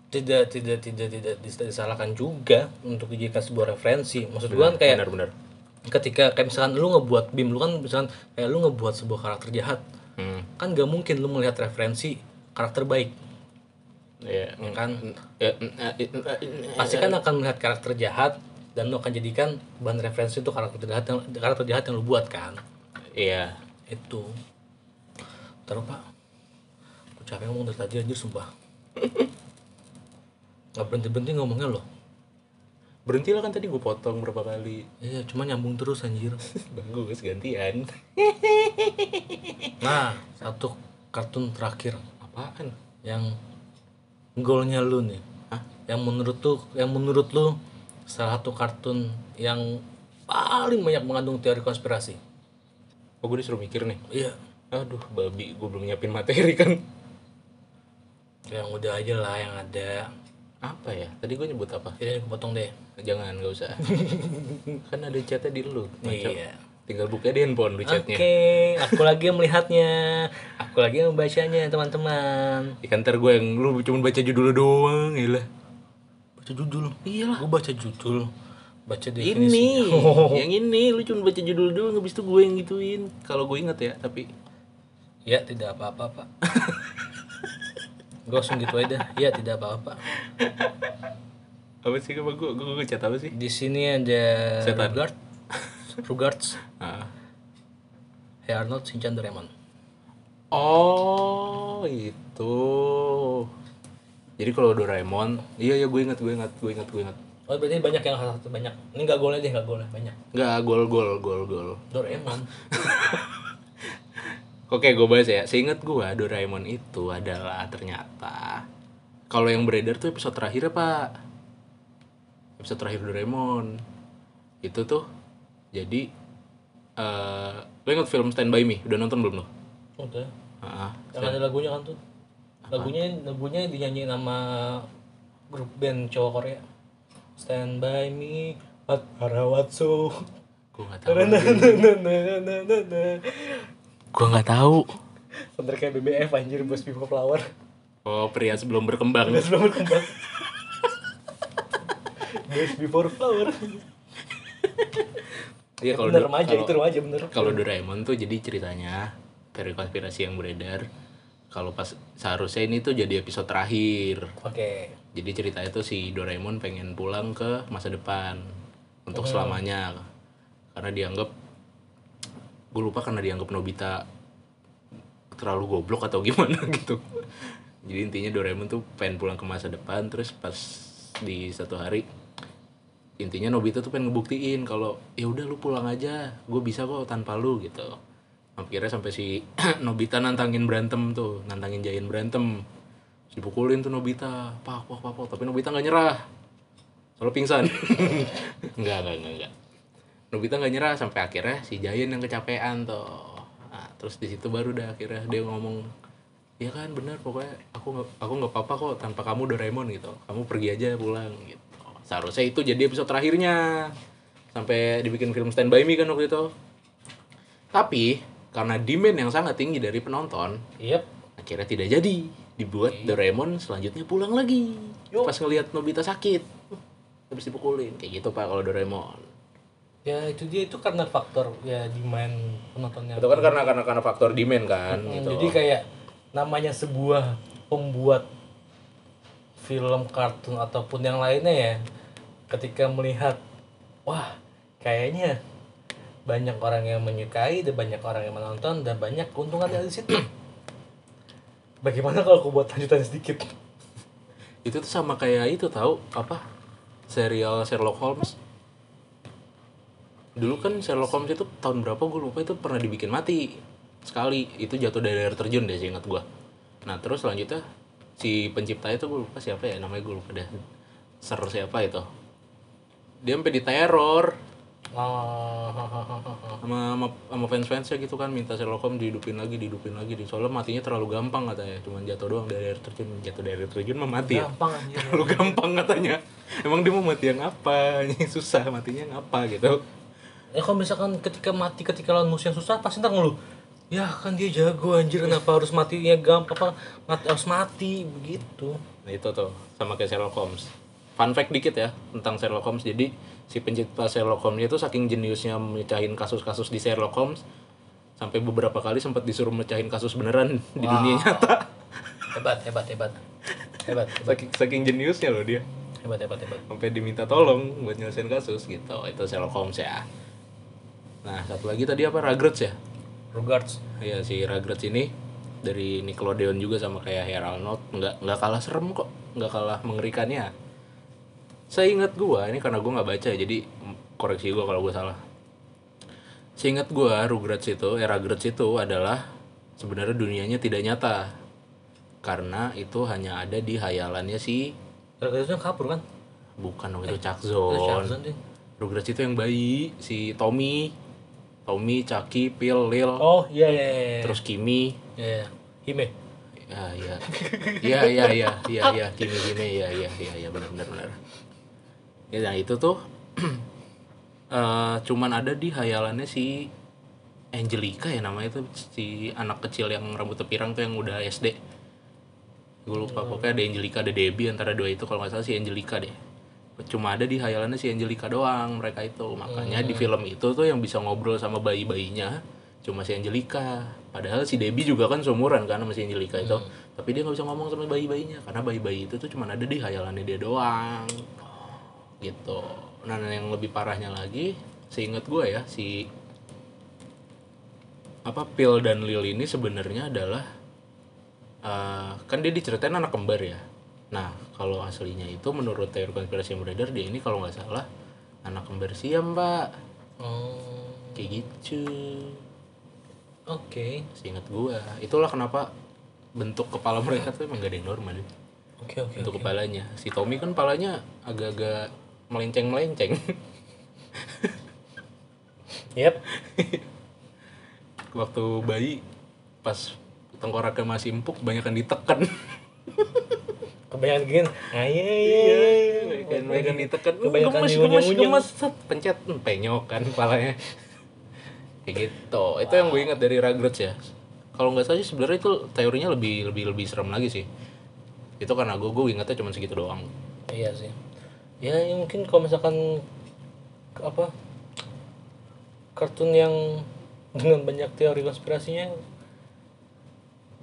B: tidak tidak tidak tidak dis- disalahkan juga untuk dijadikan sebuah referensi maksud gue kan kayak
A: benar-benar
B: ketika kayak misalkan lu ngebuat BIM lu kan misalkan kayak lu ngebuat sebuah karakter jahat
A: hmm.
B: kan gak mungkin lu melihat referensi karakter baik
A: ya
B: ya kan
A: Ya, mm, eh, eh, eh, eh,
B: pasti kan akan melihat karakter jahat dan lu akan jadikan bahan referensi untuk karakter jahat yang karakter jahat yang lu buat kan
A: iya
B: itu taruh pak aku capek ngomong dari tadi anjir sumpah nggak berhenti berhenti ngomongnya loh
A: berhentilah kan tadi gue potong berapa kali
B: iya cuma nyambung terus anjir
A: bagus gantian
B: nah satu kartun terakhir
A: apaan
B: yang golnya lu nih
A: Hah?
B: yang menurut tuh yang menurut lu salah satu kartun yang paling banyak mengandung teori konspirasi
A: oh gue disuruh mikir nih
B: iya
A: aduh babi gue belum nyiapin materi kan
B: yang udah aja lah yang ada
A: apa ya tadi gue nyebut apa
B: ini aku potong deh
A: jangan nggak usah kan ada chatnya di lu Macam.
B: iya
A: tinggal buka di handphone lu
B: Oke,
A: chatnya
B: aku lagi yang melihatnya, aku lagi yang membacanya teman-teman.
A: Ikan ntar gue yang lu cuma baca judul doang ya lah
B: Baca judul. Iyalah. Gue baca judul, baca
A: ini
B: definisinya.
A: yang ini lu cuma baca judul doang habis itu gue yang gituin kalau gue inget ya tapi
B: Ya tidak apa-apa pak. gue langsung gitu aja. Ya tidak apa-apa.
A: apa sih gue gue gue, gue chat apa sih
B: Di sini ada
A: Setan.
B: Rugard, Rugards,
A: Ah.
B: Hey Arnold, Shinchan, Doraemon.
A: Oh itu. Jadi kalau Doraemon, iya iya gue ingat gue ingat gue ingat gue ingat.
B: Oh berarti banyak yang hal banyak. Ini nggak golnya deh, nggak golnya banyak.
A: Nggak gol gol gol gol.
B: Doraemon.
A: Oke gue bahas ya. Seingat gue Doraemon itu adalah ternyata kalau yang beredar tuh episode terakhir pak. Episode terakhir Doraemon itu tuh jadi eh lo ingat film Stand By Me udah nonton belum lo?
B: Udah.
A: Ah,
B: Yang ada lagunya kan tuh. Lagunya lagunya dinyanyiin sama grup band cowok Korea. Stand by me, Pat Harawatsu.
A: gue nggak tahu.
B: Bener
A: Gue nggak tahu.
B: kayak BBF anjir bos Bimo Flower.
A: Oh pria sebelum berkembang.
B: Udah sebelum berkembang. Best before flower.
A: Iya kalau
B: bener remaja
A: Iya, kalau-
B: Iya, itu remaja bener.
A: kalau Doraemon tuh jadi ceritanya teori konspirasi yang beredar kalau pas seharusnya ini tuh jadi episode terakhir
B: Oke.
A: jadi ceritanya tuh si Doraemon pengen pulang ke masa depan untuk
B: Hmm.
A: selamanya karena dianggap gue lupa karena dianggap Nobita terlalu goblok atau gimana gitu jadi intinya Doraemon tuh pengen pulang ke masa depan terus pas di satu hari intinya Nobita tuh pengen ngebuktiin kalau ya udah lu pulang aja gue bisa kok tanpa lu gitu akhirnya sampai si Nobita nantangin berantem tuh nantangin Jain berantem Terus dipukulin tuh Nobita pak pak pak pak. tapi Nobita nggak nyerah soalnya pingsan nggak nggak nggak nggak Nobita nggak nyerah sampai akhirnya si Jain yang kecapean tuh nah, terus di situ baru dah akhirnya dia ngomong ya kan benar pokoknya aku nggak aku nggak apa-apa kok tanpa kamu Doraemon gitu kamu pergi aja pulang gitu seharusnya itu jadi episode terakhirnya sampai dibikin film Stand By Me kan waktu itu tapi karena demand yang sangat tinggi dari penonton
B: Yep.
A: akhirnya tidak jadi dibuat Doraemon selanjutnya pulang lagi
B: Yo.
A: pas ngelihat Nobita sakit habis dipukulin kayak gitu pak kalau Doraemon
B: Ya itu dia itu karena faktor ya demand penontonnya.
A: itu kan karena karena karena faktor demand kan
B: Hmm,
A: gitu
B: Jadi kayak namanya sebuah pembuat film kartun ataupun yang lainnya ya, ketika melihat wah kayaknya banyak orang yang menyukai dan banyak orang yang menonton dan banyak keuntungan dari situ. Bagaimana kalau aku buat lanjutan sedikit?
A: itu tuh sama kayak itu tahu apa serial Sherlock Holmes dulu kan Sherlock Holmes itu tahun berapa gue lupa itu pernah dibikin mati sekali itu jatuh dari air terjun deh seingat gue nah terus selanjutnya si penciptanya itu gue lupa siapa ya namanya gue lupa deh ser siapa itu dia sampai diteror
B: Oh,
A: sama sama, sama fans fansnya gitu kan minta Sherlock Holmes dihidupin lagi dihidupin lagi di soalnya matinya terlalu gampang katanya cuman jatuh doang dari air terjun jatuh dari air terjun mah mati ya
B: gampang aja.
A: terlalu gampang katanya emang dia mau mati yang apa Ini susah matinya yang apa gitu
B: Ya kalau misalkan ketika mati ketika lawan musuh yang susah pasti ntar ngeluh. Ya kan dia jago anjir kenapa harus matinya gampang apa mati, harus mati begitu.
A: nah itu tuh sama kayak Sherlock Holmes fun fact dikit ya tentang Sherlock Holmes jadi si pencipta Sherlock Holmes itu saking jeniusnya mecahin kasus-kasus di Sherlock Holmes sampai beberapa kali sempat disuruh mecahin kasus beneran di dunia nyata
B: Hebat, hebat, hebat. Hebat,
A: saking saking jeniusnya loh dia
B: hebat, hebat, hebat.
A: sampai diminta tolong buat nyelesain kasus gitu itu Sherlock Holmes ya nah satu lagi tadi apa Rugrats ya
B: Regards.
A: Iya si Rugrats ini dari Nickelodeon juga sama kayak Hey Arnold nggak nggak kalah serem kok nggak kalah mengerikannya seingat gua ini karena gua nggak baca ya, jadi mm, koreksi gua kalau gua salah seingat gua Rugrats itu era Rugrats itu adalah sebenarnya dunianya tidak nyata karena itu hanya ada di hayalannya si
B: Regards itu yang kabur kan?
A: bukan dong Eh, itu Chuck
B: Itu
A: Zone
B: Shazam tuh.
A: Rugrats itu yang bayi si Tommy Tommy Chucky Phil Lil
B: Oh, iya iya iya.
A: terus Kimi
B: Iya. iya. Hime.
A: Ya, ya. Ya, ya, ya, ya, ya, kimi kimi ya, ya, ya, ya, benar benar benar. Ya, nah itu tuh eh, cuman ada di hayalannya si Angelica ya namanya itu si anak kecil yang rambutnya pirang tuh yang udah SD. Gue lupa pokoknya ada Angelica ada Debbie antara dua itu kalau nggak salah si Angelica deh. Cuma ada di hayalannya si Angelica doang mereka itu. Makanya di film itu tuh yang bisa ngobrol sama bayi-bayinya cuma si Angelica. Padahal si Debbie juga kan seumuran kan sama si Angelica itu. Tapi dia nggak bisa ngomong sama bayi-bayinya karena bayi-bayi itu tuh cuma ada di hayalannya dia doang gitu nah nah, yang lebih parahnya lagi seingat gue ya si apa Pil dan Lil ini sebenarnya adalah eh, kan dia diceritain anak kembar ya nah kalau aslinya itu menurut teori konspirasi yang beredar dia ini kalau nggak salah anak kembar siam mbak
B: Oh.
A: kayak gitu
B: Oke.
A: seingat gue itulah kenapa bentuk kepala mereka tuh emang gak ada yang normal ya.
B: Oke, oke.
A: bentuk kepalanya si Tommy kan palanya agak-agak melenceng melenceng
B: Yep.
A: waktu bayi pas tengkoraknya masih empuk banyak yang ditekan
B: Kebanyakan gini. Ah, iya, Aye, aye,
A: Iya,
B: Iya,
A: banyak yang ditekan gemes
B: Kebanyakan
A: gemes
B: diunyeng-unyeng.
A: gemes set, pencet hmm, penyok kan kepalanya kayak gitu itu yang gue ingat dari Rugrats ya kalau nggak salah sih sebenarnya itu teorinya lebih lebih lebih serem lagi sih itu karena gue gue ingatnya cuma segitu doang
B: Iya sih. Ya, ya mungkin kalau misalkan apa kartun yang dengan banyak teori konspirasinya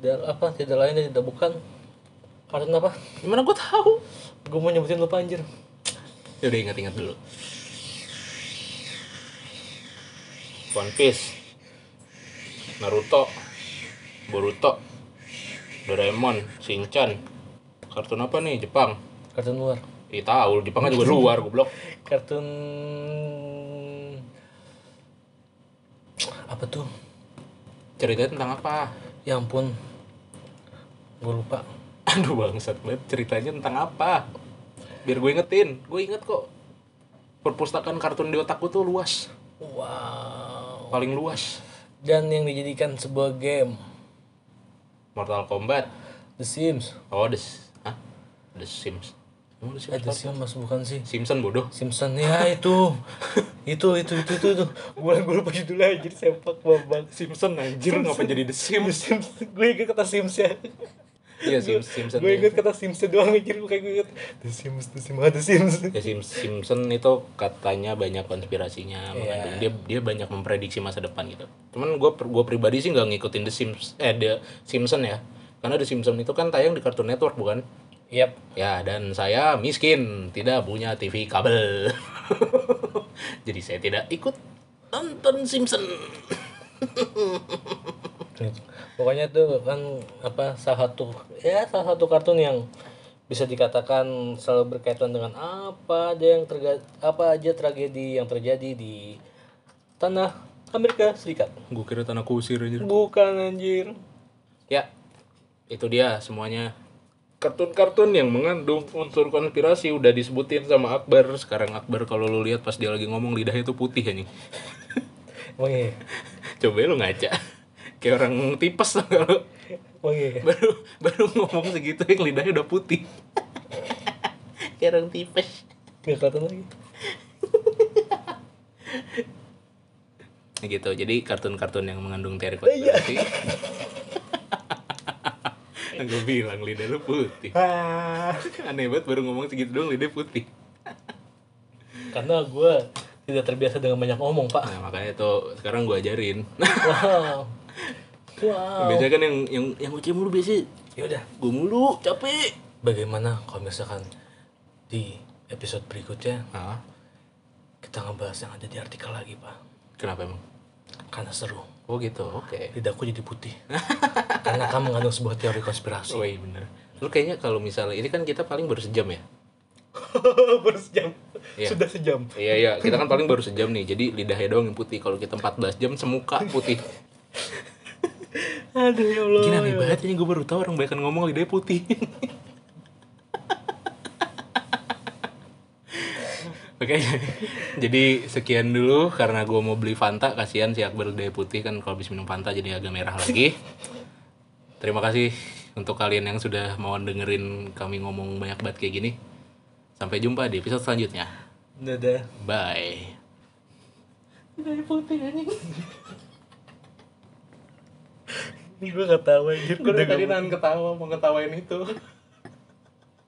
B: Tidak apa, tidak lain dan tidak bukan kartun apa?
A: Gimana gue tahu?
B: Gue mau nyebutin lupa anjir.
A: Yaudah ingat-ingat dulu. One Piece, Naruto, Boruto, Doraemon, Shinchan. Kartun apa nih? Jepang.
B: Kartun luar.
A: Ih tahu, Jepang kan juga luar goblok.
B: Kartun apa tuh?
A: Ceritanya tentang apa?
B: Ya ampun. Gue lupa.
A: Aduh bangsat banget, ceritanya tentang apa? Biar gue ingetin, gue inget kok. Perpustakaan kartun di otakku tuh luas,
B: Wow.
A: paling luas.
B: Dan yang dijadikan sebuah game
A: Mortal Kombat,
B: The Sims.
A: oh The, S- Hah? The Sims. Emang The Sims
B: Eh, The Sims mas bukan sih?
A: Simpson bodoh.
B: Simpson ya itu itu itu itu itu itu gue gue lupa judulnya anjir sepak babak
A: Simpson anjir ngapa jadi The Sims?
B: Simpson gue inget kata Sims ya
A: Iya Sims Simpson.
B: gue inget kata Sims ya, doang anjir gue kayak gue inget The Sims The Sims ah, The Sims
A: Ya Sims Simpson itu katanya banyak konspirasinya mengandung dia dia banyak memprediksi masa depan gitu. Cuman gue gua pribadi sih nggak ngikutin The Sims eh The Simpson ya. Karena The Simpson itu kan tayang di Cartoon Network bukan?
B: yep
A: Ya, dan saya miskin, tidak punya TV kabel. Jadi saya tidak ikut nonton Simpson.
B: Gitu. pokoknya tuh kan apa salah satu ya salah satu kartun yang bisa dikatakan selalu berkaitan dengan apa aja yang terga apa aja tragedi yang terjadi di tanah Amerika Serikat
A: Gue kira tanah kusir aja.
B: bukan anjir
A: Ya, itu dia semuanya. Kartun-kartun yang mengandung unsur konspirasi udah disebutin sama Akbar. Sekarang Akbar kalau lu lihat pas dia lagi ngomong lidahnya tuh putih anjing.
B: Emang iya?
A: Coba lu ngaca. Kayak orang tipes kalau
B: Emang iya?
A: baru baru ngomong segitu yang lidahnya udah putih. Kayak orang tipes.
B: Nggak kelihatan lagi.
A: Nah, gitu jadi kartun-kartun yang mengandung teori konspirasi gue bilang lidah lu putih aneh banget baru ngomong segitu doang lidah putih
B: Karena gue tidak terbiasa dengan banyak ngomong, Pak.
A: nah makanya itu sekarang gue ajarin
B: Wow. Wow.
A: biasanya kan yang yang yang uci mulu biasa
B: Yaudah,
A: gue mulu capek
B: bagaimana kalau misalkan di episode berikutnya
A: ah
B: kita ngebahas yang ada di artikel lagi, Pak.
A: kenapa emang
B: Karena seru.
A: oh gitu oke
B: Lidahku jadi putih. Karena kamu mengandung sebuah teori konspirasi.
A: oh iya bener lu kayaknya kalau misalnya ini kan kita paling baru sejam ya
B: Baru sejam.
A: Iya.
B: Sudah sejam.
A: iya iya kita kan paling baru sejam nih jadi lidahnya doang yang putih kalau kita 14 jam semuka putih
B: Aduh, ya Allah.
A: Gila aneh banget ini gue baru tau orang banyak ngomong lidahnya putih Oke, jadi sekian dulu karena gue mau beli Fanta, kasihan si Akbar lidahnya putih kan kalau habis minum Fanta jadi agak merah lagi. Terima kasih untuk kalian yang sudah mau dengerin kami ngomong banyak banget kayak gini. Sampai jumpa di episode selanjutnya.
B: Dadah.
A: Bye.
B: Lidahnya putih, anjing. Ini gue gak tau anjir. Udah
A: nahan ketawa, mau ketawain itu.